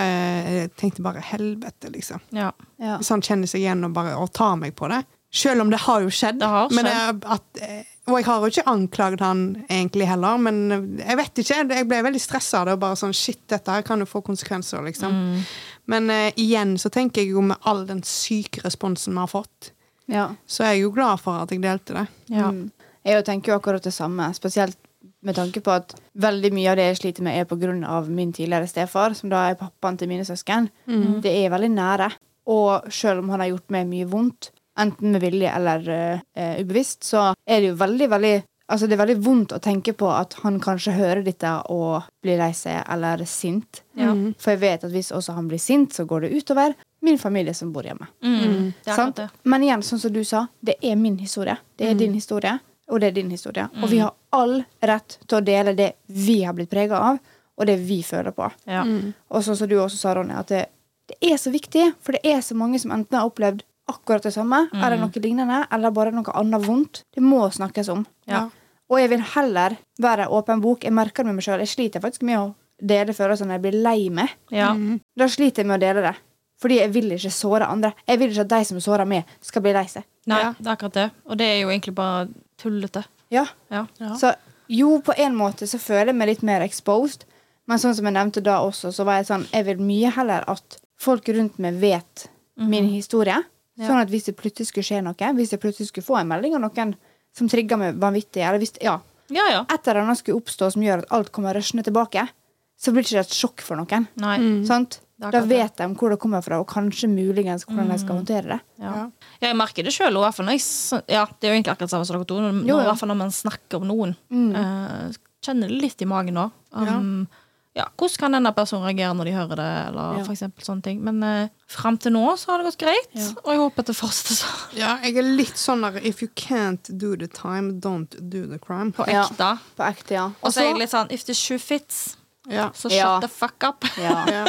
A: Jeg tenkte bare helvete, liksom.
C: Ja.
B: Ja.
A: Hvis han kjenner seg igjen og bare og tar meg på det. Selv om det har jo skjedd.
C: Det har
A: Men det er at, eh, og jeg har jo ikke anklaget han egentlig heller, men eh, jeg vet ikke. Jeg ble veldig stressa av det. og bare sånn, Shit, dette her kan jo få konsekvenser, liksom. Men eh, igjen så tenker jeg jo med all den syke responsen vi har fått,
B: Ja.
A: så er jeg jo glad for at jeg delte det.
C: ja.
B: Mm. Jeg jo tenker jo akkurat det samme, spesielt med tanke på at veldig mye av det jeg sliter med, er pga. min tidligere stefar, som da er pappaen til mine søsken.
C: Mm.
B: Det er veldig nære. Og selv om han har gjort meg mye vondt, enten med vilje eller eh, eh, ubevisst, så er det jo veldig, veldig Altså, det er veldig vondt å tenke på at han kanskje hører dette og blir lei seg eller sint.
C: Ja.
B: For jeg vet at hvis også han blir sint, så går det utover min familie som bor hjemme.
C: Mm. Det er akkurat
B: Sant?
C: det. Mm.
B: Men igjen, sånn som du sa, det er min historie. Det er din historie, og det er din historie. Og vi har all rett til å dele det vi har blitt prega av, og det vi føler på.
C: Ja.
B: Og sånn som du også sa, Ronja, at det, det er så viktig, for det er så mange som enten har opplevd akkurat det samme, eller
C: Mm.
B: noe lignende, eller bare noe annet vondt. Det må snakkes om.
C: Ja.
B: Og jeg vil heller være åpen bok. Jeg merker det med meg sjøl. Jeg sliter faktisk med å dele følelser når jeg blir lei meg.
C: Ja.
B: Da sliter jeg med å dele det. Fordi jeg vil ikke såre andre. Jeg vil ikke at de som sårer meg, skal bli lei seg.
C: Nei,
A: Ja.
C: det er akkurat det. Og det er jo egentlig bare tullete.
B: Ja.
C: Ja.
B: Så jo, på en måte så føler jeg meg litt mer exposed. Men sånn som jeg nevnte da også, så var jeg sånn Jeg vil mye heller at folk rundt meg vet min historie. Sånn at hvis det plutselig skulle skje noe, hvis jeg plutselig skulle få en melding av noen som trigger meg vanvittig, eller hvis Ja.
C: Ja, ja.
B: et eller annet skulle oppstå som gjør at alt kommer rushende tilbake, så blir ikke det et sjokk for noen.
C: Nei.
B: Sant?
C: Mm. Det Mm. er
B: Da
C: akkurat
B: vet de hvor det kommer fra, og kanskje muligens hvordan de skal håndtere det.
C: Ja. Ja, jeg merker det sjøl. Ja, det er jo egentlig akkurat samme som dere to. Nå,
B: Jo, ja.
C: I hvert fall når man snakker om noen. Eh, kjenner det litt i magen nå. Um, ja. hvordan kan denne personen reagere når de hører det? Eller
B: Ja.
C: for eksempel sånne ting. Men uh, fram til nå så har det gått greit, og jeg håper at det fortsetter sånn.
A: Ja, jeg er litt sånn der If you can't do the time, don't do the crime.
C: På
B: Ja.
C: ekte.
B: På ekte, ja.
C: Og så er jeg litt sånn If the shoe fits,
A: Ja.
C: så shut
B: Ja.
C: the fuck up.
B: ja.
A: Ja.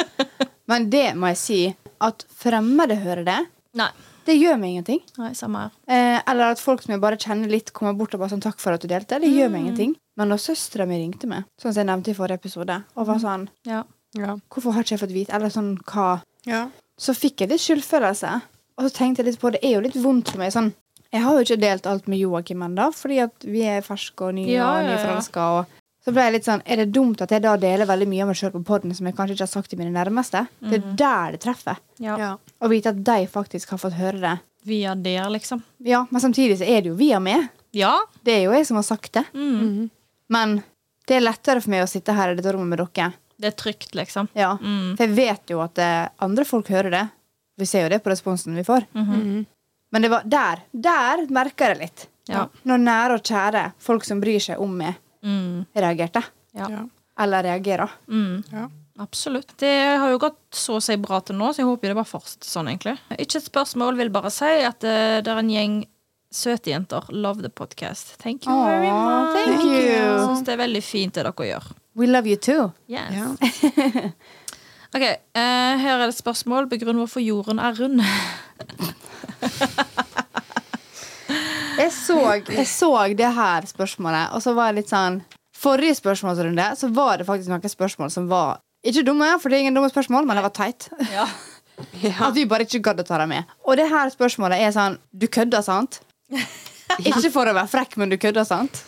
B: Men det må jeg si, at fremmede hører det,
C: Nei.
B: det gjør meg ingenting.
C: Nei, samme her.
B: Eh, eller at folk som jeg bare kjenner litt, kommer bort og bare sånn 'takk for at du delte', det gjør
C: Mm.
B: meg ingenting. Men da søstera mi ringte meg, sånn som jeg nevnte i forrige episode, og
C: Mm.
B: var sånn
C: Ja.
A: Ja.
B: 'hvorfor har ikke jeg fått vite', eller sånn hva
A: Ja.
B: så fikk jeg litt skyldfølelse. Og så tenkte jeg litt på det er jo litt vondt for meg. sånn, Jeg har jo ikke delt alt med Joakim ennå, fordi at vi er ferske og nye
C: Ja,
B: og
C: ja, ja.
B: nyforelska. Og så ble jeg litt sånn Er det dumt at jeg da deler veldig mye av meg sjøl på podden som jeg kanskje ikke har sagt til mine nærmeste? Det
C: Mhm.
B: er der det treffer.
C: Ja.
A: Ja.
B: Å vite at de faktisk har fått høre det.
C: Via der, liksom.
B: Ja, Men samtidig så er det jo via meg.
C: Ja.
B: Det er jo jeg som har sagt det.
C: Mm.
B: Men det er lettere for meg å sitte her i dette rommet med dere.
C: Det er trygt, liksom.
B: Ja,
C: Mm.
B: For jeg vet jo at eh, andre folk hører det. Vi ser jo det på responsen vi får.
A: Mhm.
B: Men det var der der merker jeg litt.
C: Ja.
B: Når nære og kjære, folk som bryr seg om meg,
C: Mm.
B: reagerte.
C: Ja.
A: Ja.
B: Eller reagerer.
C: Mm.
A: Ja.
C: Absolutt. Det har jo gått så å si bra til nå, så jeg håper det bare fortsetter sånn, egentlig. Ikke et spørsmål, vil bare si at eh, det er en gjeng søte jenter. Love the podcast. Thank you very
B: Aw,
C: much.
B: thank
C: Jeg
B: you.
C: syns det er veldig fint det dere gjør.
B: We love you too.
C: Yes.
A: Ja.
C: Ok, eh, her er det et spørsmål. Begrunn hvorfor jorden er rund.
B: Jeg så, jeg så det her spørsmålet, og så var jeg litt sånn Forrige spørsmålsrunde så var det faktisk noen spørsmål som var ikke dumme, for det er ingen dumme spørsmål, men det var teit.
C: Ja.
B: At vi bare ikke gadd å ta dem med. Og det her spørsmålet er sånn Du kødder, sant? ikke for å være frekk, men du kødder, sant?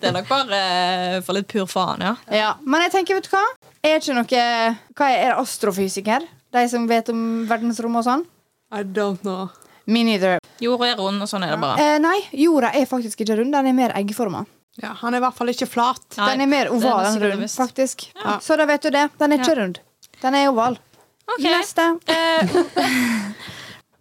C: Det er nok bare eh, for litt pur faen, ja.
B: Ja, Men jeg tenker, vet du hva? Er ikke noe Hva er, er det astrofysiker? De som vet om verdensrommet og sånn?
A: I don't know.
B: Me neither.
C: Jorda er rund, og sånn er det bare.
B: Eh, nei, jorda er faktisk ikke rund. Den er mer eggforma.
A: Ja, han er i hvert fall ikke flat.
C: Nei,
B: Den er mer
C: det
B: oval
C: er
B: enn
C: sikkert
B: rund,
C: visst.
B: faktisk.
A: Ja.
B: Så da vet du det. Den er ikke rund. Den er oval.
C: Ok.
B: Neste.
C: Eh,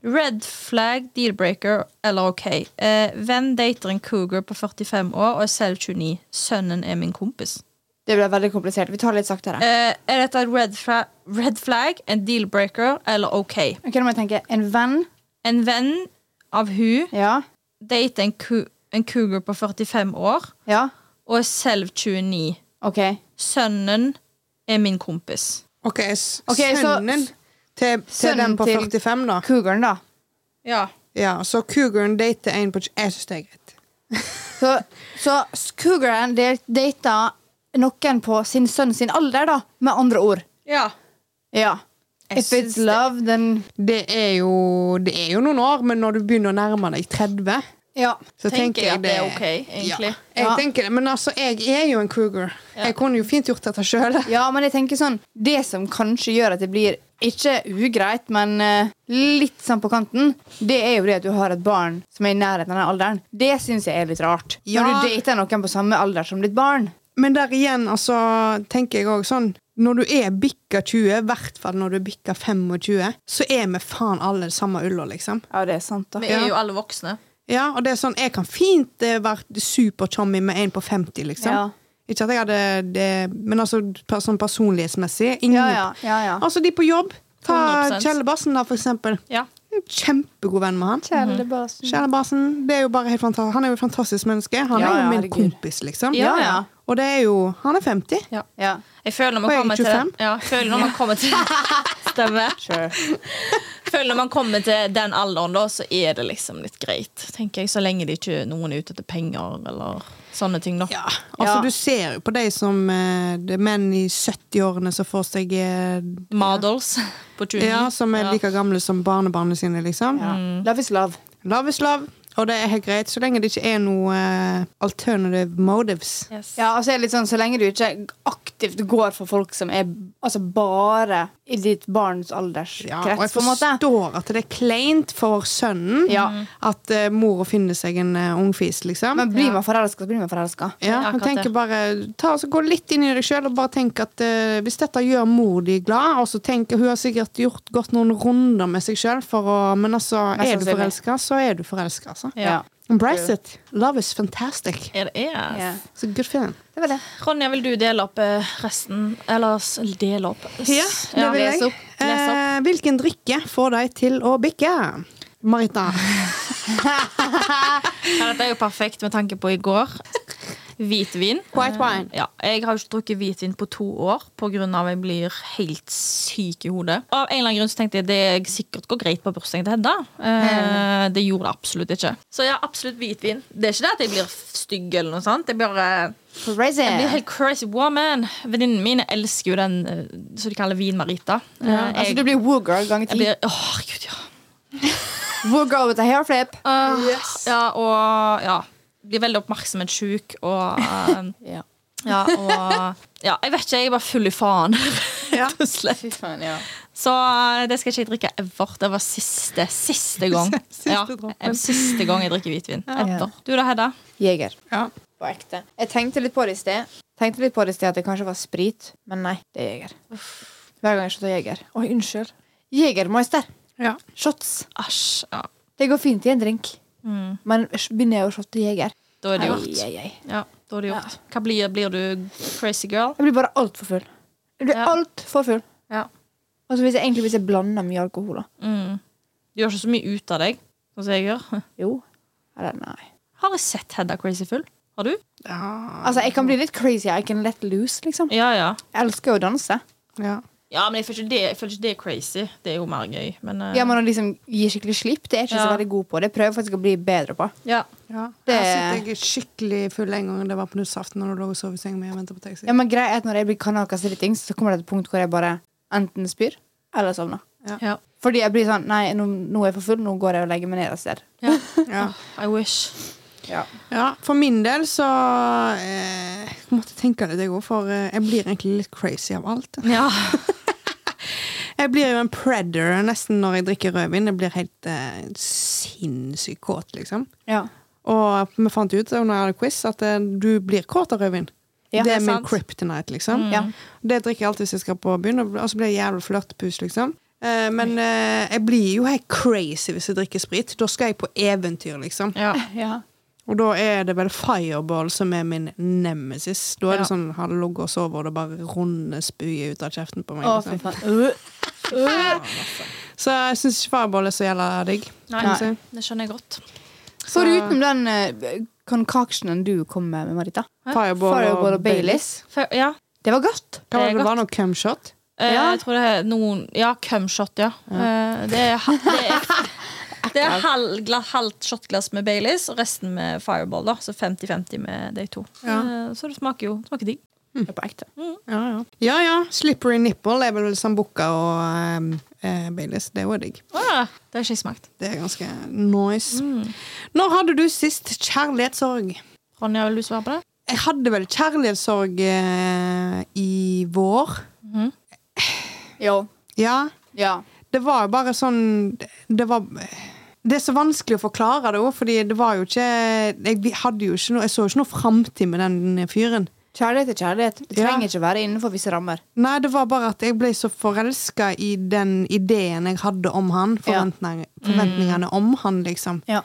C: Red flag, deal-breaker eller OK. Eh, venn dater en cougar på 45 år og er selv 29. Sønnen er min kompis.
B: Det ble veldig komplisert. Vi tar det litt saktere.
C: Eh, er dette et red, fra- red flag, en deal-breaker eller OK?
B: Ok, nå må jeg tenke. En venn.
C: En venn av hun
B: Ja.
C: dater en, cou en cougar på 45 år
B: Ja.
C: og er selv 29.
B: OK.
C: Sønnen er min kompis.
A: OK, s-
B: Ok, så-
A: sønnen til, til
B: Sønnen
A: den på
B: til-
A: 45, da.
B: Cougaren, da.
C: Ja.
A: Ja, Så cougaren dater en på Jeg syns det er greit.
B: Så, så cougaren del- data noen på sin sønn sin alder, da. Med andre ord.
C: ja.
B: Ja.
C: Jeg
B: If it's
C: syns det-
B: love, then
A: Det er, jo, det er jo noen år, men når du begynner å nærme deg 30
B: Ja.
A: så
C: Tenker
A: tenker
C: jeg
A: jeg
C: at det er ok, egentlig.
A: Ja, jeg
B: Ja.
A: tenker det, Men altså, jeg er jo en cougar. Jeg kunne jo fint gjort dette sjøl.
B: Ja, men jeg tenker sånn Det som kanskje gjør at det blir ikke ugreit, men eh, litt sånn på kanten, det er jo det at du har et barn som er i nærheten av den alderen. Det syns jeg er litt rart.
A: Ja.
B: Når du dater noen på samme alder som ditt barn.
A: Men der igjen, altså, tenker jeg òg sånn Når du er bikka 20, i hvert fall når du er bikka 25, så er vi faen alle samme ulla, liksom.
B: Ja, det er sant, da.
C: Vi er jo alle voksne.
A: Ja, og det er sånn, jeg kan fint eh, være superchummy med en på 50, liksom.
B: Ja.
A: Ikke at jeg hadde det, men altså per- sånn personlighetsmessig. Ingen,
B: Ja, ja, ja, ja.
A: Altså, de på jobb. Ta
C: 100%.
A: Kjell Bassen, da, for eksempel.
C: Ja.
A: Jeg er jo Kjempegod venn med han.
B: Kjellebasen.
A: Kjell Bassen, det er jo bare helt fantastisk. Han er jo et fantastisk menneske. Han
B: Ja,
A: er jo
B: ja,
A: min
B: herregud.
A: kompis, liksom.
C: Ja, ja.
A: Og det er jo Han er 50.
C: Ja.
B: Ja.
C: Jeg føler når
A: Og
C: man
A: jeg er
C: kommer til
A: 25.
C: Ja, jeg føler når man kommer til Stemmer.
B: Sure.
C: føler når man kommer til den alderen, da, så er det liksom litt greit. Tenker jeg, Så lenge det ikke noen er ute etter penger eller sånne ting. da.
A: Ja. Altså,
B: Ja.
A: Du ser jo på de som eh, det er menn i 70-årene som får seg eh,
C: Models på 29.
A: Ja, som er
C: Ja.
A: like gamle som barnebarna sine, liksom.
B: Ja. Love is love.
A: Love is love, og det er helt greit så lenge det ikke er noe eh, alternative motives.
C: Yes.
B: Ja, altså, jeg er litt sånn, Så lenge du ikke aktivt går for folk som er altså bare i ditt barns
A: Ja, og jeg
B: alderskrets, på en måte.
A: forstår at det er kleint for sønnen
B: Ja.
A: at eh, mora finner seg en eh, ungfis, liksom.
B: Men blir man forelska, så blir man forelska.
A: ja,
C: Akkurat
A: men tenker
C: det.
A: bare, ta, altså, Gå litt inn i deg sjøl og bare tenk at eh, hvis dette gjør mor di glad og så tenker, Hun har sikkert gjort gått noen runder med seg sjøl, men altså,
B: Mest
A: er du
B: sannsynlig.
A: forelska, så er du forelska. Altså.
C: Ja.
A: Embrace it. Love is fantastic.
C: Er det yes.
B: Ja.
A: It's a good feeling.
B: Det var det.
C: Ronja, vil du dele opp eh, resten? Eller s- dele opp S-
A: Ja, det vil
C: les
A: jeg.
C: opp. Les opp.
A: Eh, hvilken drikke får deg til å bikke? Marita.
C: Ja, dette er jo perfekt med tanke på i går. Hvitvin.
A: White wine.
C: Ja, jeg har jo ikke drukket hvitvin på to år pga. at jeg blir helt syk i hodet. Av en eller annen grunn så tenkte jeg det sikkert går greit på bursdagen til Hedda. Eh, det gjorde det absolutt ikke. Så ja, absolutt hvitvin. Det er ikke det at jeg blir f- stygg eller noe sånt. Jeg bare
B: Crazy.
C: jeg blir helt crazy woman. Venninnene mine elsker jo den eh, som de kaller Vin-Marita. Eh,
B: Altså, du
C: jeg,
B: blir woo-girl ganger
C: jeg
B: ti.
C: blir Åh, herregud, ja.
B: Woo-girl with a hair flip.
C: Åh, ja. Og ja. Blir veldig oppmerksomhetssjuk og eh,
B: Ja.
C: Ja, og ja, Jeg vet ikke, jeg er bare full i faen.
A: Ja.
C: Rett og slett.
B: Fy faen, ja.
C: Så eh, det skal ikke jeg drikke ever. Det var siste siste gang.
A: Siste
C: ja,
A: droppen.
C: en siste gang jeg drikker hvitvin. Ever. Du da, Hedda?
B: Jeger.
A: Ja.
B: På ekte. Jeg tenkte litt på det i sted. Tenkte litt på det i sted At det kanskje var sprit, men nei, det er jeger. Hver gang jeg shotter jeger. Oi, unnskyld. Jegermeister.
A: Ja.
B: Shots.
C: Æsj. Ja. Mm.
B: Det går fint i en drink, men begynner jeg å shotte jeger
C: Da er det
B: Ai,
C: gjort.
B: ai, ai.
C: Ja, da er det gjort. Hva blir, blir du crazy girl?
B: Jeg blir bare altfor full. Jeg blir
C: Ja.
B: altfor full.
C: Ja.
B: Og så hvis jeg egentlig hvis jeg blander mye alkohol, da.
C: Mm. Du gjør ikke så mye ut av deg, sånn som jeg gjør.
B: Jo. Eller nei.
C: Har jeg sett Hedda crazy full? Har du?
B: Altså, jeg kan bli litt crazy. I can let loose, liksom.
C: Ja, ja.
B: Jeg elsker jo å danse.
A: ja.
C: Ja, men jeg føler ikke det, jeg føler ikke det er crazy. Det er jo mer gøy. Men, eh,
B: Ja, men å liksom gi skikkelig slipp, det er jeg ikke så
C: Ja.
B: veldig god på. Det prøver jeg faktisk å bli bedre på.
C: ja.
A: ja.
B: Det-
A: Her sitter jeg skikkelig full en gang det var på nyttårsaften når du lå og sov i senga mi og ventet på taxi.
B: Ja, men greia er at når jeg blir kanakas dritings, så kommer det et punkt hvor jeg bare enten spyr eller sovner.
C: ja.
B: Fordi jeg blir sånn Nei, nå, nå er jeg for full, nå går jeg og legger meg ned et sted.
C: ja.
A: Ja.
C: I wish.
B: Ja.
A: Ja, for min del så eh, Jeg måtte tenke litt, jeg òg, for eh, jeg blir egentlig litt crazy av alt.
C: Ja.
A: Jeg blir jo en predator nesten når jeg drikker rødvin. Jeg blir helt eh, sinnssykt kåt, liksom.
B: Ja.
A: Og vi fant ut under jeg hadde quiz at eh, du blir kåt av rødvin. det
B: Ja, det
A: er
B: er
A: min
C: sant.
A: kryptonite, liksom.
B: Ja.
A: Det drikker jeg alltid hvis jeg skal på byen, og så blir jeg jævlig flørtepus, liksom. Eh, Men eh, jeg blir jo helt crazy hvis jeg drikker sprit. Da skal jeg på eventyr, liksom.
C: ja.
B: ja.
A: Og da er det vel fireball som er min nemesis. Da er det
C: Ja.
A: sånn har det ligget og sovet, og det bare runder spyet ut av kjeften på meg.
B: Å, fy
A: Liksom.
B: faen. Øh. Øh.
A: Så jeg syns ikke fireball er så jævla digg.
C: Nei,
A: kan du si.
C: det skjønner jeg godt.
B: Foruten den uh, concoctionen du kom med, med Marita.
A: Fireball,
B: Fireball og
A: Baileys.
B: Baileys.
C: For, ja.
B: Det var godt.
A: Hva var
C: Det er
A: det, var det noe cumshot?
C: Eh,
B: Ja.
C: Jeg tror det er noen Ja, cumshot, ja. Eh, det er, ha- det er, det er halv, gla, halvt shotglass med Baileys og resten med Fireball. da Så 50-50 med de to.
A: Ja.
C: Eh, så det smaker jo det smaker digg.
B: Det var på ekte.
A: Ja ja. ja ja. Slippery nipple er vel sambuca og ehm, eh, Baileys. Det er jo digg.
C: Ah, det har ikke jeg smakt.
A: Det er ganske nice. Når hadde du sist kjærlighetssorg?
C: Ronja, vil du svare på det?
A: Jeg hadde vel kjærlighetssorg eh, i vår.
B: Jo.
A: Ja.
B: Ja.
A: Det var jo bare sånn Det var det er så vanskelig å forklare det òg, fordi det var jo ikke Jeg, vi hadde jo ikke noe, jeg så jo ikke noe framtid med den fyren.
B: Kjærlighet er kjærlighet. Det
A: Ja.
B: trenger ikke være innenfor visse rammer.
A: Nei, det var bare at jeg ble så forelska i den ideen jeg hadde om han. Forventning, forventningene om han, liksom.
B: Ja.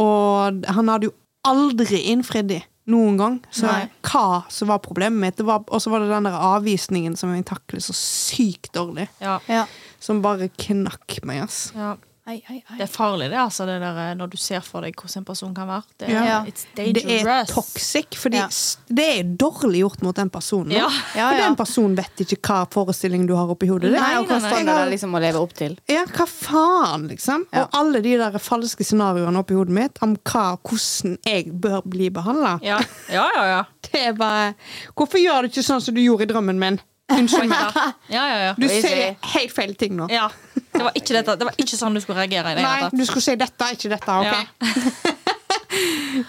A: Og han hadde jo aldri innfridd de noen gang. Så
C: Nei.
A: hva som var problemet mitt. det var- Og så var det den der avvisningen som jeg taklet så sykt dårlig.
C: Ja.
B: Ja.
A: Som bare knakk meg, ass.
C: Ja.
B: Ai, ai, ai.
C: Det er farlig, det, altså, det der, eh, når du ser for deg hvordan en person kan være. Det, er-
B: Ja.
C: It's
A: Det
C: dangerous.
A: er toxic, fordi
B: Ja.
A: s- det er dårlig gjort mot den personen.
C: Ja.
B: Ja,
A: For
B: ja.
A: den personen vet ikke hva forestilling du har oppi hodet. ditt.
B: Nei, og hva
C: nei, nei.
B: standarder liksom å leve opp til.
A: Ja, hva faen, liksom?
B: Ja.
A: Og alle de der falske scenarioene oppi hodet mitt om hva, hvordan jeg bør bli behandla.
C: Ja, ja, ja. ja.
A: Det er bare Hvorfor gjør du ikke sånn som du gjorde i drømmen min? Unnskyld meg.
C: ja, ja, ja.
A: Du
B: Easy.
A: sier helt feil ting nå.
C: ja. Det, var ikke dette, det var ikke sånn du skulle reagere. i det
A: Nei,
C: hele tatt.
A: du skulle si dette, ikke dette. ok?
C: Ja.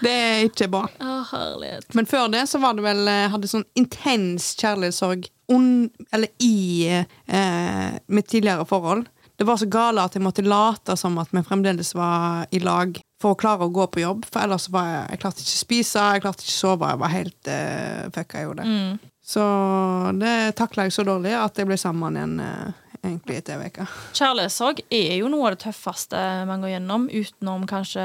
A: Det er ikke bra.
C: Å, herlighet.
A: Men før det så var det vel eh, hadde sånn intens kjærlighetssorg un, eller i eh, mitt tidligere forhold. Det var så gale at jeg måtte late som at vi fremdeles var i lag for å klare å gå på jobb. For ellers var jeg, jeg klarte ikke å spise, jeg klarte ikke å sove. Jeg var helt eh, fucka i hodet. Så det takla jeg så dårlig at jeg ble sammen igjen eh, egentlig etter ei uke.
C: Kjærlighetssorg er jo noe av det tøffeste man går gjennom, utenom kanskje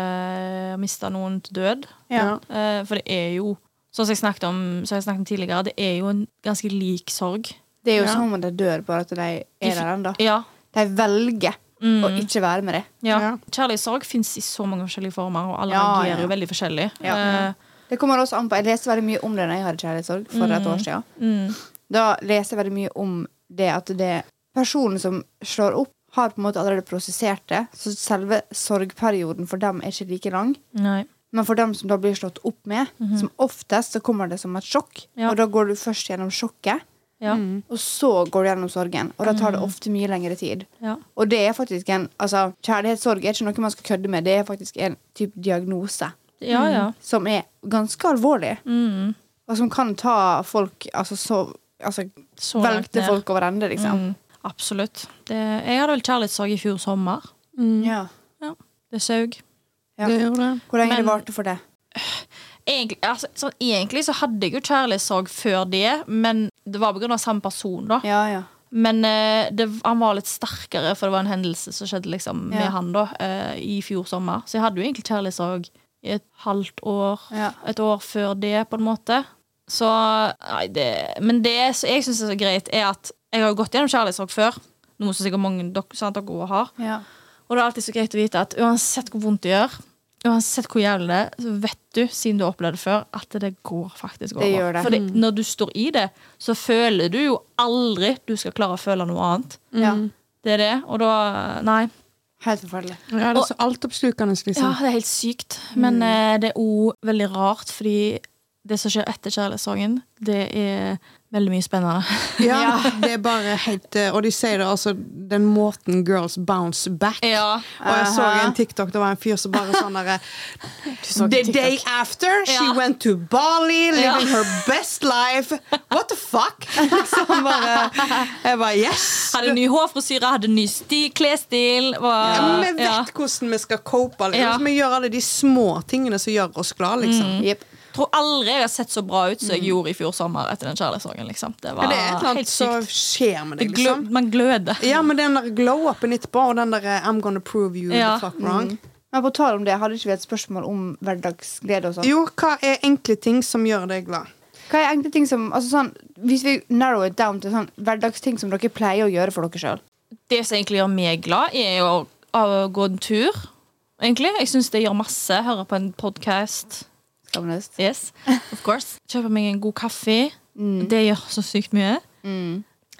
C: å miste noen til død.
A: Ja.
C: Eh, For det er jo, sånn som jeg snakket om, som jeg snakket om tidligere, det er jo en ganske lik sorg.
B: Det er jo
A: Ja.
B: som om de dør, bare at de Mm. er der ennå.
C: Ja.
B: De velger å ikke være med det.
C: ja.
A: Ja.
C: Kjærlighetssorg fins i så mange forskjellige former, og alle
B: Ja,
C: reagerer
B: ja.
C: jo veldig forskjellig.
B: Ja.
C: Eh,
B: Det kommer også an på, Jeg leste veldig mye om det da jeg hadde kjærlighetssorg for et år siden.
C: mm.
B: Da leser jeg veldig mye om det at det personen som slår opp, har på en måte allerede prosessert det. Så selve sorgperioden for dem er ikke like lang.
C: Nei.
B: Men for dem som da blir slått opp med, som oftest så kommer det som et sjokk.
C: Ja.
B: Og da går du først gjennom sjokket,
C: Ja.
B: og så går du gjennom sorgen. Og da tar det
C: Mm.
B: ofte mye lengre tid.
C: Ja.
B: Og det er faktisk en, altså, kjærlighetssorg er ikke noe man skal kødde med. Det er faktisk en type diagnose
C: ja, ja.
B: som er ganske alvorlig.
C: Mm.
B: Og som kan ta folk altså, så, altså,
C: Så langt
B: Velte
C: ned.
B: folk over ende, liksom.
C: Mm. Absolutt. Det, jeg hadde vel kjærlighetssorg i fjor sommer. Mm.
B: Ja.
C: Ja. Det saug.
B: Ja.
A: Det gjorde det.
B: Hvor lenge
C: Men-
B: det varte for det?
C: Egentlig, altså, sånn, egentlig så hadde jeg jo kjærlighetssorg før det, men det var pga. samme person, da.
B: Ja, ja.
C: Men eh, det, han var litt sterkere, for det var en hendelse som skjedde liksom, med
B: Ja.
C: han da, eh, i fjor sommer. Så jeg hadde jo egentlig kjærlighetssorg i et halvt år,
B: Ja.
C: et år før det, på en måte. Så Nei, det Men det som jeg syns er så greit, er at jeg har jo gått gjennom kjærlighetssorg før. Noe som sikkert mange dere, sant, dere også har.
B: ja.
C: Og det er alltid så greit å vite at uansett hvor vondt det gjør, uansett hvor jævlig det er, så vet du, siden du har opplevd det før, at det går faktisk over.
B: Det gjør det.
C: Fordi når du står i det, så føler du jo aldri du skal klare å føle noe annet.
B: ja.
C: Det er det, og da Nei.
B: Helt forferdelig.
A: Ja, det er så altoppslukende,
C: Ja,
A: liksom.
C: det er helt sykt. Men eh, det er òg veldig rart, fordi det som skjer etter kjærlighetssorgen, det er veldig mye spennende.
A: Ja, det er bare helt eh, Og de sier det altså den måten girls bounce back
C: Ja.
A: Og jeg så en TikTok, det var en fyr som bare sånn derre
B: så en
A: The
B: TikTok?
A: day after she
C: Ja.
A: went to Bali, living
C: Ja.
A: her best life. What the fuck? Så han bare Jeg bare yes!
C: Hadde ny hårfrisyre, hadde ny stil, klesstil. Var,
A: Ja, men vi vet
C: ja.
A: hvordan vi skal cope. Liksom.
C: Ja. Mm.
A: Vi gjør alle de små tingene som gjør oss glad liksom.
B: Jepp.
C: tror aldri jeg har sett så bra ut som jeg gjorde i fjor sommer etter den kjærlighetssorgen. Liksom. Det var
A: Men Mm. det er et eller
C: helt
A: annet som
C: sykt.
A: skjer med
C: Det
A: deg,
C: glø
A: liksom.
C: man gløder.
A: Ja, men den der glow-upen etterpå, og den der eh, I'm gonna prove you
C: Ja.
A: the
C: Mm.
A: fuck wrong.
B: Men på tal om det, hadde ikke vi et spørsmål om hverdagsglede og sånn?
A: Jo, hva er enkle ting som gjør deg glad?
B: Hva er egentlig ting som altså sånn, Hvis vi narrow it down til sånn hverdagsting som dere pleier å gjøre for dere sjøl.
C: Det som egentlig gjør meg glad, er jo å å gå en tur. Egentlig. Jeg syns det gjør masse. Høre på en podkast.
B: Skamløst.
C: Yes, of course. Kjøpe meg en god kaffe.
A: Mm.
C: Det gjør så sykt mye.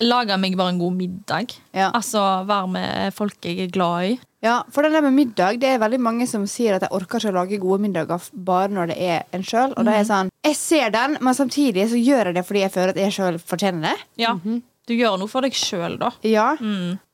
C: Lage meg bare en god middag.
B: Ja.
C: Altså være med folk jeg er glad i.
B: Ja, for den der med middag, det er veldig mange som sier at de orker ikke å lage gode middager f- bare når det er en sjøl. Og
C: Mhm.
B: da er jeg sånn Jeg ser den, men samtidig så gjør jeg det fordi jeg føler at jeg sjøl fortjener det.
C: Ja.
A: Mhm.
C: Du gjør noe for deg sjøl, da. Mm.
B: Ja.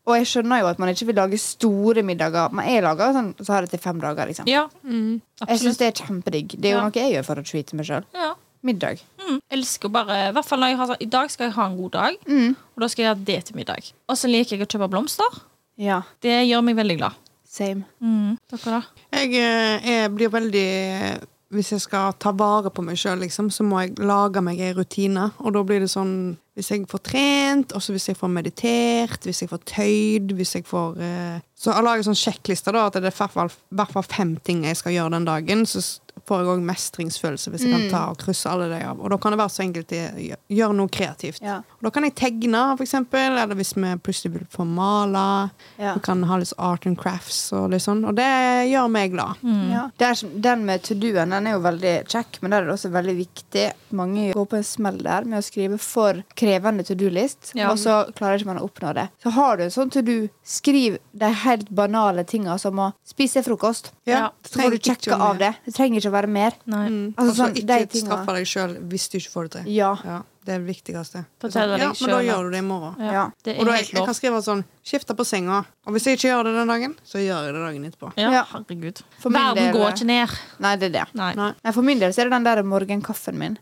B: Og jeg skjønner jo at man ikke vil lage store middager. Men jeg lager sånn, så har jeg til fem dager, liksom.
C: Ja,
B: jeg syns
C: absolutt.
B: det er kjempedigg. Det er jo
C: Ja.
B: noe jeg gjør for å treate meg sjøl.
C: Ja.
B: Middag.
C: Mm, elsker bare, i hvert fall når jeg har sånn, I dag skal jeg ha en god dag, og da skal jeg ha det til middag. Og så liker jeg å kjøpe blomster.
B: Ja.
C: Det gjør meg veldig glad.
B: Same.
C: Mm, dere da?
A: Jeg, eh, jeg blir veldig Hvis jeg skal ta vare på meg sjøl, liksom, så må jeg lage meg ei rutine. Og da blir det sånn Hvis jeg får trent, også hvis jeg får meditert, hvis jeg får tøyd hvis jeg får... eh, Så jeg lager sånn sjekklister da, at det er i hvert fall- hvert fall fem ting jeg skal gjøre den dagen, så s- får jeg også mestringsfølelse hvis jeg kan ta og krysse alle de av. Og da kan det være så enkelt å gjø- gjøre noe kreativt.
B: Ja.
A: Og da kan jeg tegne, for eksempel, eller hvis vi plutselig vil få male,
B: Ja.
A: vi kan ha litt art and crafts og litt sånn, og det gjør meg glad.
C: Mm.
B: Ja. Det er, som- den med to do-en den er jo veldig kjekk, men der er det også veldig viktig. Mange går på en smell der med å skrive for krevende to do-list,
C: Ja.
B: og så klarer ikke man å oppnå det. Så har du en sånn to do, skriv de helt banale tinga som å spise frokost.
C: Ja.
B: Så får du
A: ikke
B: sjekke
A: gjøre
B: av
A: mer.
B: det. Det trenger ikke å være mer.
C: Nei.
A: Mm.
B: Altså,
A: Altså,
B: sånn, de
A: ikke
B: tingene.
A: straffe deg sjøl hvis du ikke får det til.
B: Ja.
A: Ja, det er det viktigste.
C: Da
A: Det er sånn,
C: teller jeg
A: ja, men da
C: selv at-
A: gjør du det i morgen.
C: Ja.
B: Ja.
C: Det
A: Og
C: er
A: da, jeg,
C: helt
A: jeg
C: lov.
A: kan skrive sånn 'skifte på senga'. Og hvis jeg ikke gjør det den dagen, så gjør jeg det dagen etterpå.
C: Ja,
B: Ja.
C: herregud.
B: For min
C: Verden
B: del-
C: går ikke ned.
B: Nei, det er det.
C: Nei. Mhm.
A: Nei.
B: Nei, For min del så er det den der morgenkaffen min.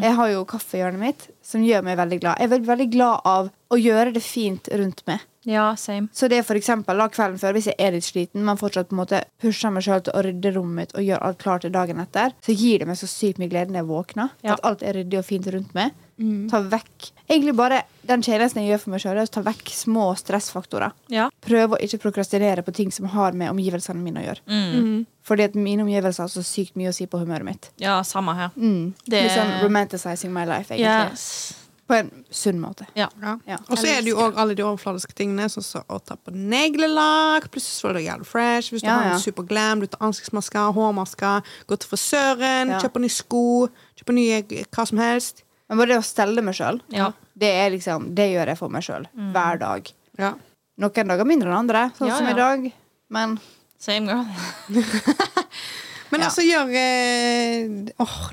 B: Jeg har jo kaffehjørnet mitt, som gjør meg veldig glad. Jeg er veldig, veldig glad av å gjøre det fint rundt meg.
C: Ja, same.
B: Så det er for eksempel da kvelden før, hvis jeg er litt sliten, men fortsatt på en måte pusher meg selv til å rydde rommet mitt og gjøre alt klart til dagen etter, så gir det meg så sykt mye glede når jeg våkner.
C: Ja. Mm.
B: At alt er ryddig og fint rundt meg. Ta vekk Egentlig bare den tjenesten jeg gjør for meg sjøl, er å ta vekk små stressfaktorer.
C: Ja.
B: Prøve å ikke prokrastinere på ting som har med omgivelsene mine å gjøre.
C: Mm.
B: Fordi at mine omgivelser har så sykt mye å si på humøret mitt.
C: ja, samme her.
B: Mm.
C: Det-
B: Litt sånn romanticizing my life, egentlig.
C: Yes.
B: På en sunn måte.
C: Ja.
A: Ja.
B: Ja.
A: Og så er det jo òg alle de overfladiske tingene, sånn som å ta på neglelakk. Plutselig så er det jævlig fresh. Hvis du
B: Ja,
A: har
B: ja.
A: en superglam, du tar ansiktsmasker, hårmasker, gå til frisøren,
B: Ja.
A: kjøper nye sko, kjøper nye g- hva som helst.
B: Men bare det å stelle meg sjøl,
C: Ja. Mm.
B: det, er liksom, det gjør jeg for meg sjøl hver dag.
A: Ja.
B: Noen dager mindre enn andre, sånn
C: Ja,
B: som
C: ja.
B: i dag. Men
C: Same girl.
A: Men
B: Ja.
A: altså, gjør eh, åh,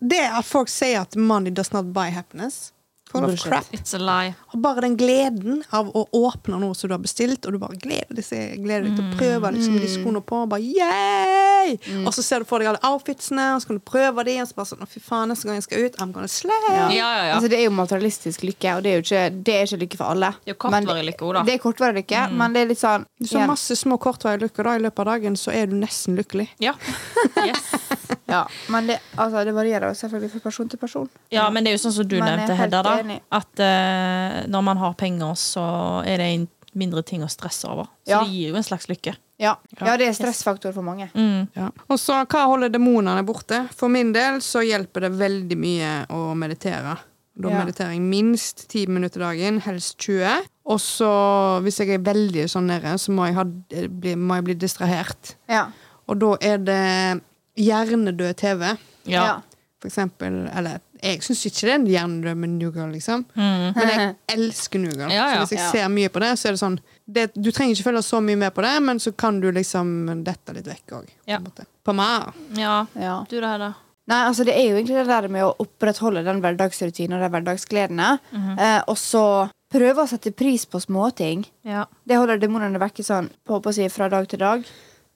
A: Det at folk sier at 'money does not buy happiness', full of
B: Bullshit.
A: crap.
C: It's a lie.
A: Og bare den gleden av å åpne noe som du har bestilt, og du bare gleder deg, til- gleder deg til
B: Mm.
A: å prøve liksom, de skoene på, og bare yay! Og så ser du for deg alle outfitsene, og så kan du prøve de, og så bare sånn, «Å, fy faen, neste gang jeg skal ut, I'm gonna slay!
B: ja.
C: Ja, ja, ja.
B: Altså, det er jo materialistisk lykke, og det er jo ikke, det er ikke lykke for alle.
C: Det er jo kortvarig
B: Men-
C: lykke også, da. Mm.
B: Det er kortvarig lykke, men det er litt sånn
A: Så
B: igjen,
A: masse små kortvarige lykker da, i løpet av dagen, så er du nesten lykkelig.
C: Ja. Yes.
B: ja. Men det, altså, det varierer jo selvfølgelig fra person til person.
C: ja, men det er jo sånn som du
B: Men jeg er
C: nevnte,
B: helt
C: Hedda, da.
B: enig.
C: At eh, når man har penger, så er det en mindre ting å stresse over. Så
B: Ja.
C: det gir jo en slags lykke.
B: Ja, ja det er stressfaktor for mange.
C: Mm.
A: Ja. Og så, hva holder demonene borte? For min del så hjelper det veldig mye å meditere. Da
B: Ja.
A: mediterer jeg minst 10 minutter dagen, helst 20. Og så, hvis jeg er veldig sånn nede, så må jeg, ha, bli, må jeg bli distrahert.
B: Ja.
A: Og da er det hjernedød TV,
C: Ja.
B: Ja.
A: for eksempel. Eller jeg syns ikke det er en hjernedød med New Girl, liksom. Men
C: Mm.
A: jeg elsker New Girl.
C: Ja, ja.
A: Så hvis jeg
B: Ja.
A: ser mye på det, så er det sånn det, Du trenger ikke følge så mye med på det, men så kan du liksom dette litt vekk òg.
C: Ja.
A: På meg.
C: ja.
B: ja.
C: Du da, Hedda?
B: Nei, altså Det er jo egentlig det der med å opprettholde den hverdagsrutinen og de hverdagsgledene.
C: Mhm.
B: eh, og så prøve å sette pris på småting.
C: Ja.
B: Det holder demonene vekke sånn, på, på å si, fra dag til dag.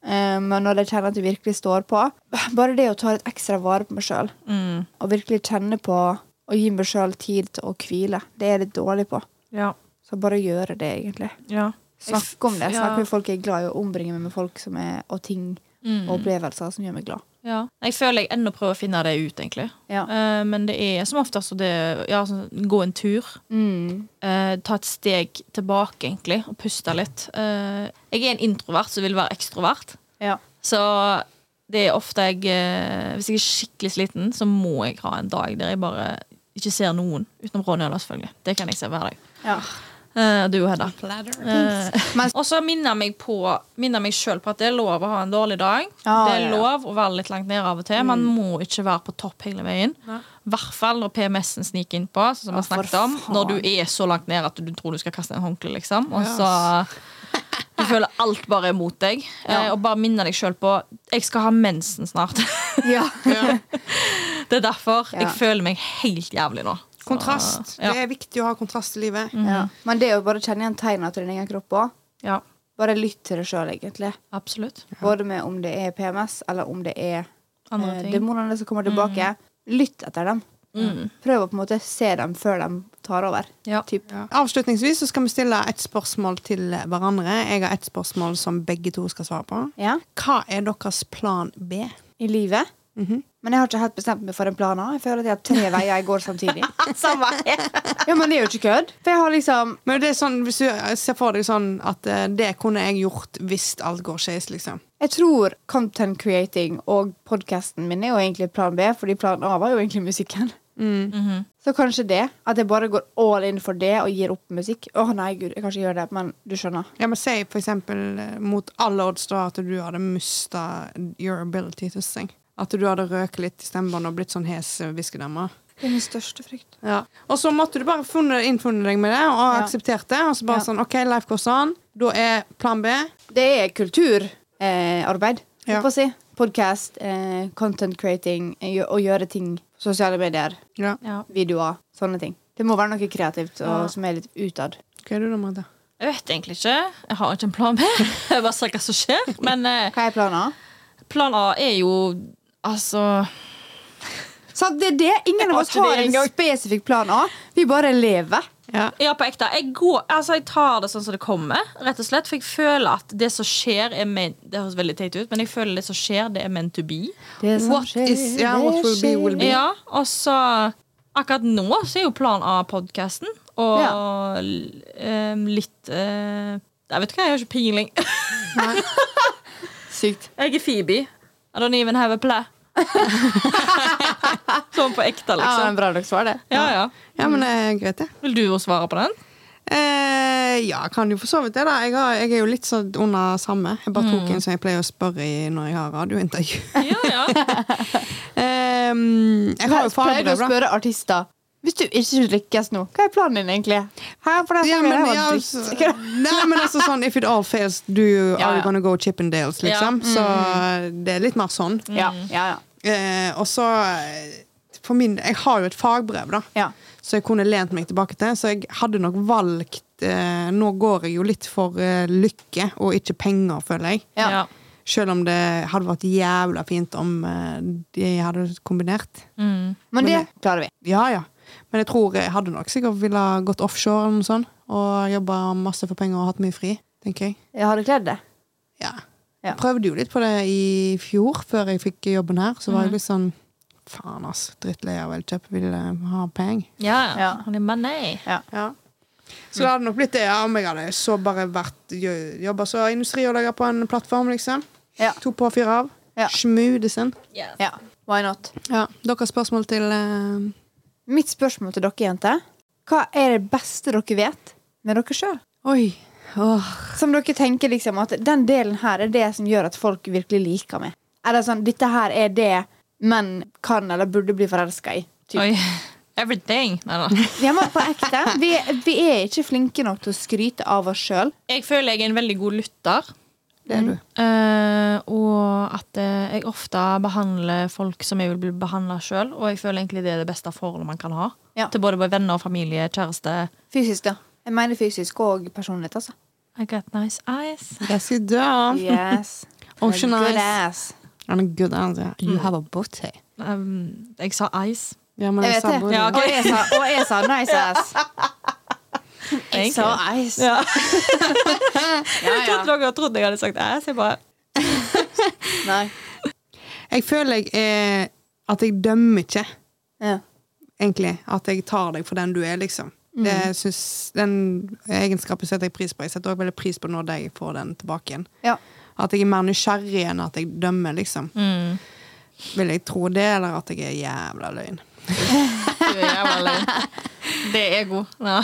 B: Eh, men når de kjenner at de virkelig står på Bare det å ta litt ekstra vare på meg sjøl.
C: Mm.
B: Og virkelig kjenne på å gi meg sjøl tid til å hvile. Det er jeg litt dårlig på.
C: Ja.
B: Så bare gjøre det, egentlig.
C: Ja.
B: Snakke om det.
C: Ja.
B: Snakke med folk jeg er glad i, og ombringe meg med folk som er, og ting og opplevelser som gjør meg glad.
C: ja. Jeg føler jeg ennå prøver å finne det ut, egentlig.
B: Ja.
C: Eh, men det er som oftest så det ja, sånn, Gå en tur.
B: Mm.
C: Eh, ta et steg tilbake, egentlig, og puste litt. Eh, jeg er en introvert som vil være ekstrovert.
B: Ja.
C: Så det er ofte jeg eh, Hvis jeg er skikkelig sliten, så må jeg ha en dag der jeg bare ikke ser noen. Utenom Ronja, da, selvfølgelig. Det kan jeg se hver dag.
B: ja.
C: Eh, du og Hedda.
A: Eh,
B: Men-
C: Og så minner meg på Minner meg sjøl på at det er lov å ha en dårlig dag.
B: Ja, Mm.
C: det er
B: ja, ja.
C: lov å være litt langt ned av og til. Man må ikke være på topp hele veien. I hvert fall når PMS-en sniker innpå, sånn som vi
B: for
C: snakket om.
B: faen.
C: Når du er så langt ned at du tror du skal kaste en håndkle, liksom. Og
A: Ja,
C: så Du føler alt bare er mot deg.
B: Ja.
C: Eh, og bare minne deg sjøl på Jeg skal ha mensen snart.
B: ja.
A: Ja.
C: det er derfor.
B: Ja.
C: Jeg føler meg helt jævlig nå. Så,
A: Kontrast.
C: Ja.
A: Det er viktig å ha kontrast i livet.
B: Ja. Men det å bare kjenne igjen tegna til din egen kropp òg.
C: ja.
B: Bare lytt til det sjøl, egentlig.
C: Absolutt.
B: Både med om det er PMS, eller om det er
C: Andre
B: eh,
C: ting. Mm.
B: demonene som kommer tilbake. Lytt etter dem. Prøv å på en måte se dem før de tar over.
C: Ja.
B: Typ.
A: Ja. Avslutningsvis så skal vi stille et spørsmål til hverandre. Jeg har et spørsmål som begge to skal svare på.
B: Ja.
A: Hva er deres plan B?
B: I livet. Men jeg har ikke helt bestemt meg for en plan A. Jeg føler at jeg har tre veier jeg går samtidig.
C: Samme her.
B: Ja, Men det er jo ikke kødd. For jeg har liksom
A: Men det er sånn, hvis du ser for deg sånn at eh, det kunne jeg gjort hvis alt går skeis, liksom.
B: Jeg tror content creating og podkasten min er jo egentlig plan B, fordi plan A var jo egentlig musikken. Mm.
C: Mhm.
B: Så kanskje det. At jeg bare går all in for det og gir opp musikk. Å nei, gud, jeg kan ikke gjøre det, men du skjønner.
A: Ja, men Si for eksempel eh, mot alle odds da at du hadde mista your ability to sing. At du hadde røket litt i stemmebåndet og blitt sånn hes eh, viskedame.
B: Det er min største frykt.
A: Ja. Og så måtte du bare funnet, innfunnet deg med det og
B: Ja.
A: akseptert det. Og så bare
B: Ja.
A: sånn OK, life goes on. Da er plan B.
B: Det er kulturarbeid, eh, arbeid, holdt
A: Ja.
B: på å si. Podkast, eh, content creating, eh, gjø- og gjøre ting. Sosiale medier,
A: Ja.
C: Ja.
B: videoer, sånne ting. Det må være noe kreativt og,
C: Ja.
B: som er litt utad.
A: Hva er du da, Marta?
C: Jeg vet egentlig ikke. Jeg har ikke en plan B. Jeg bare ser hva som skjer. Men eh,
B: Hva er planen?
C: plan A er jo altså
B: Så det er det. Ingen
C: Jeg
B: av
C: har
B: oss
C: ikke det
B: har en
C: engang.
B: spesifikk plan A. Vi bare lever.
A: Ja.
C: Ja, på ekte. Jeg, går, altså, jeg tar det sånn som det kommer, rett og slett. For jeg føler at det som skjer, er men, Det høres veldig teit ut, men jeg føler det som skjer, det er meant to be.
B: Det
A: What is- ja, what will be, will be.
C: Ja, og så Akkurat nå så er jo plan A-podkasten. Og l- em, litt eh, Jeg vet ikke hva, jeg har ikke peiling.
B: Sykt.
C: Jeg er Phoebe. I don't even have a plan. sånn på ekte,
B: Ja,
C: liksom.
B: en bra dags var det.
C: Ja, ja.
A: ja, men det er greit, det.
C: Vil du også svare på den?
A: Eh, ja, jeg kan jo for så vidt det. da Jeg, har, jeg er jo litt sånn under samme. Jeg bare
B: Mm.
A: tok en som jeg pleier å spørre i når jeg har radiointervju.
C: Ja, ja.
A: Eh, jeg har
B: Pleier
A: jo
B: du å
A: fagbrev, da.
B: spørre artister hvis du ikke lykkes nå, hva er planen din egentlig? Her for det sånn
A: Ja, men,
B: men,
A: ja, altså, nei, men altså sånn If it all fails, do you,
B: Ja,
A: are
B: ja. mm.
A: you gonna go Chippendales,
C: Ja,
A: liksom? Så det er litt mer sånn.
B: ja, ja, ja.
A: Eh, og så eh, For min Jeg har jo et fagbrev, da.
B: ja.
A: Så jeg kunne lent meg tilbake til. Så jeg hadde nok valgt eh, Nå går jeg jo litt for eh, lykke og ikke penger, føler jeg.
B: Ja.
C: ja.
A: Selv om det hadde vært jævla fint om eh, de hadde kombinert.
C: Mm.
B: Men det klarer vi.
A: Ja, ja. Men jeg tror jeg hadde nok sikkert ville gått offshore eller noe sånt, og jobba masse for penger og hatt mye fri, tenker jeg.
B: Jeg hadde kledd det.
A: Ja.
B: Ja.
A: Jeg prøvde jo litt på det i fjor, før jeg fikk jobben her. Så var jeg litt sånn Faen, ass. Drittlei av Elkjøp. Vil eh, ha penger.
C: ja, ja.
B: Ja.
C: Men nei.
A: Ja. Så det hadde nok blitt det ja, om jeg hadde så bare vært jobba som industriårlegger på en plattform, liksom.
B: Ja.
A: To på, fire av.
B: Ja.
A: Schmudesen.
C: Yes.
B: Ja. Why not?
A: Ja. Dere har spørsmål til eh,
B: Mitt spørsmål til dere, jenter. Hva er det beste dere vet med dere sjøl?
A: Oi. Åh.
B: Som dere tenker liksom at den delen her er det som gjør at folk virkelig liker meg. Eller sånn, dette her er det menn kan eller burde bli forelska i. Typ.
C: Oi. Everything. Nei, nei.
B: Ja, men på ekte. Vi, vi er ikke flinke nok til å skryte av oss sjøl.
C: Jeg føler jeg er en veldig god lytter.
A: Det er du.
C: eh, og at eh, jeg ofte behandler folk som jeg vil bli behandla sjøl. Og jeg føler egentlig det er det beste forholdet man kan ha.
B: Ja.
C: Til både venner, og familie, kjæreste.
B: Fysisk, da. Jeg mener fysisk og personlighet, altså.
C: I got nice eyes.
A: Jeg skal dø.
B: Yes.
A: Ocean
B: Good
A: eyes.
B: ass.
A: And a good answer. You have a booty.
C: Um, jeg sa eyes.
A: Ja, men
B: Jeg
A: jeg
B: vet
A: sa
B: det.
A: booty.
C: Ja, ok.
B: Og jeg sa- Og jeg sa nice ass. Jeg
C: Egentlig.
B: sa eyes.
C: Ja.
B: Ja,
C: Jeg trodde
B: ja.
C: noen trodde jeg hadde sagt ass. Jeg bare
B: Nei.
A: Jeg føler jeg er at jeg dømmer ikke,
B: Ja.
A: egentlig. At jeg tar deg for den du er, liksom. Det synes, den egenskapen setter jeg pris på. Jeg setter også veldig pris på når jeg får den tilbake igjen.
B: ja.
A: At jeg er mer nysgjerrig enn at jeg dømmer, liksom.
C: mm,
A: Vil jeg tro det, eller at jeg er jævla løgn?
C: du er jævla løgn. Det er god. Ja.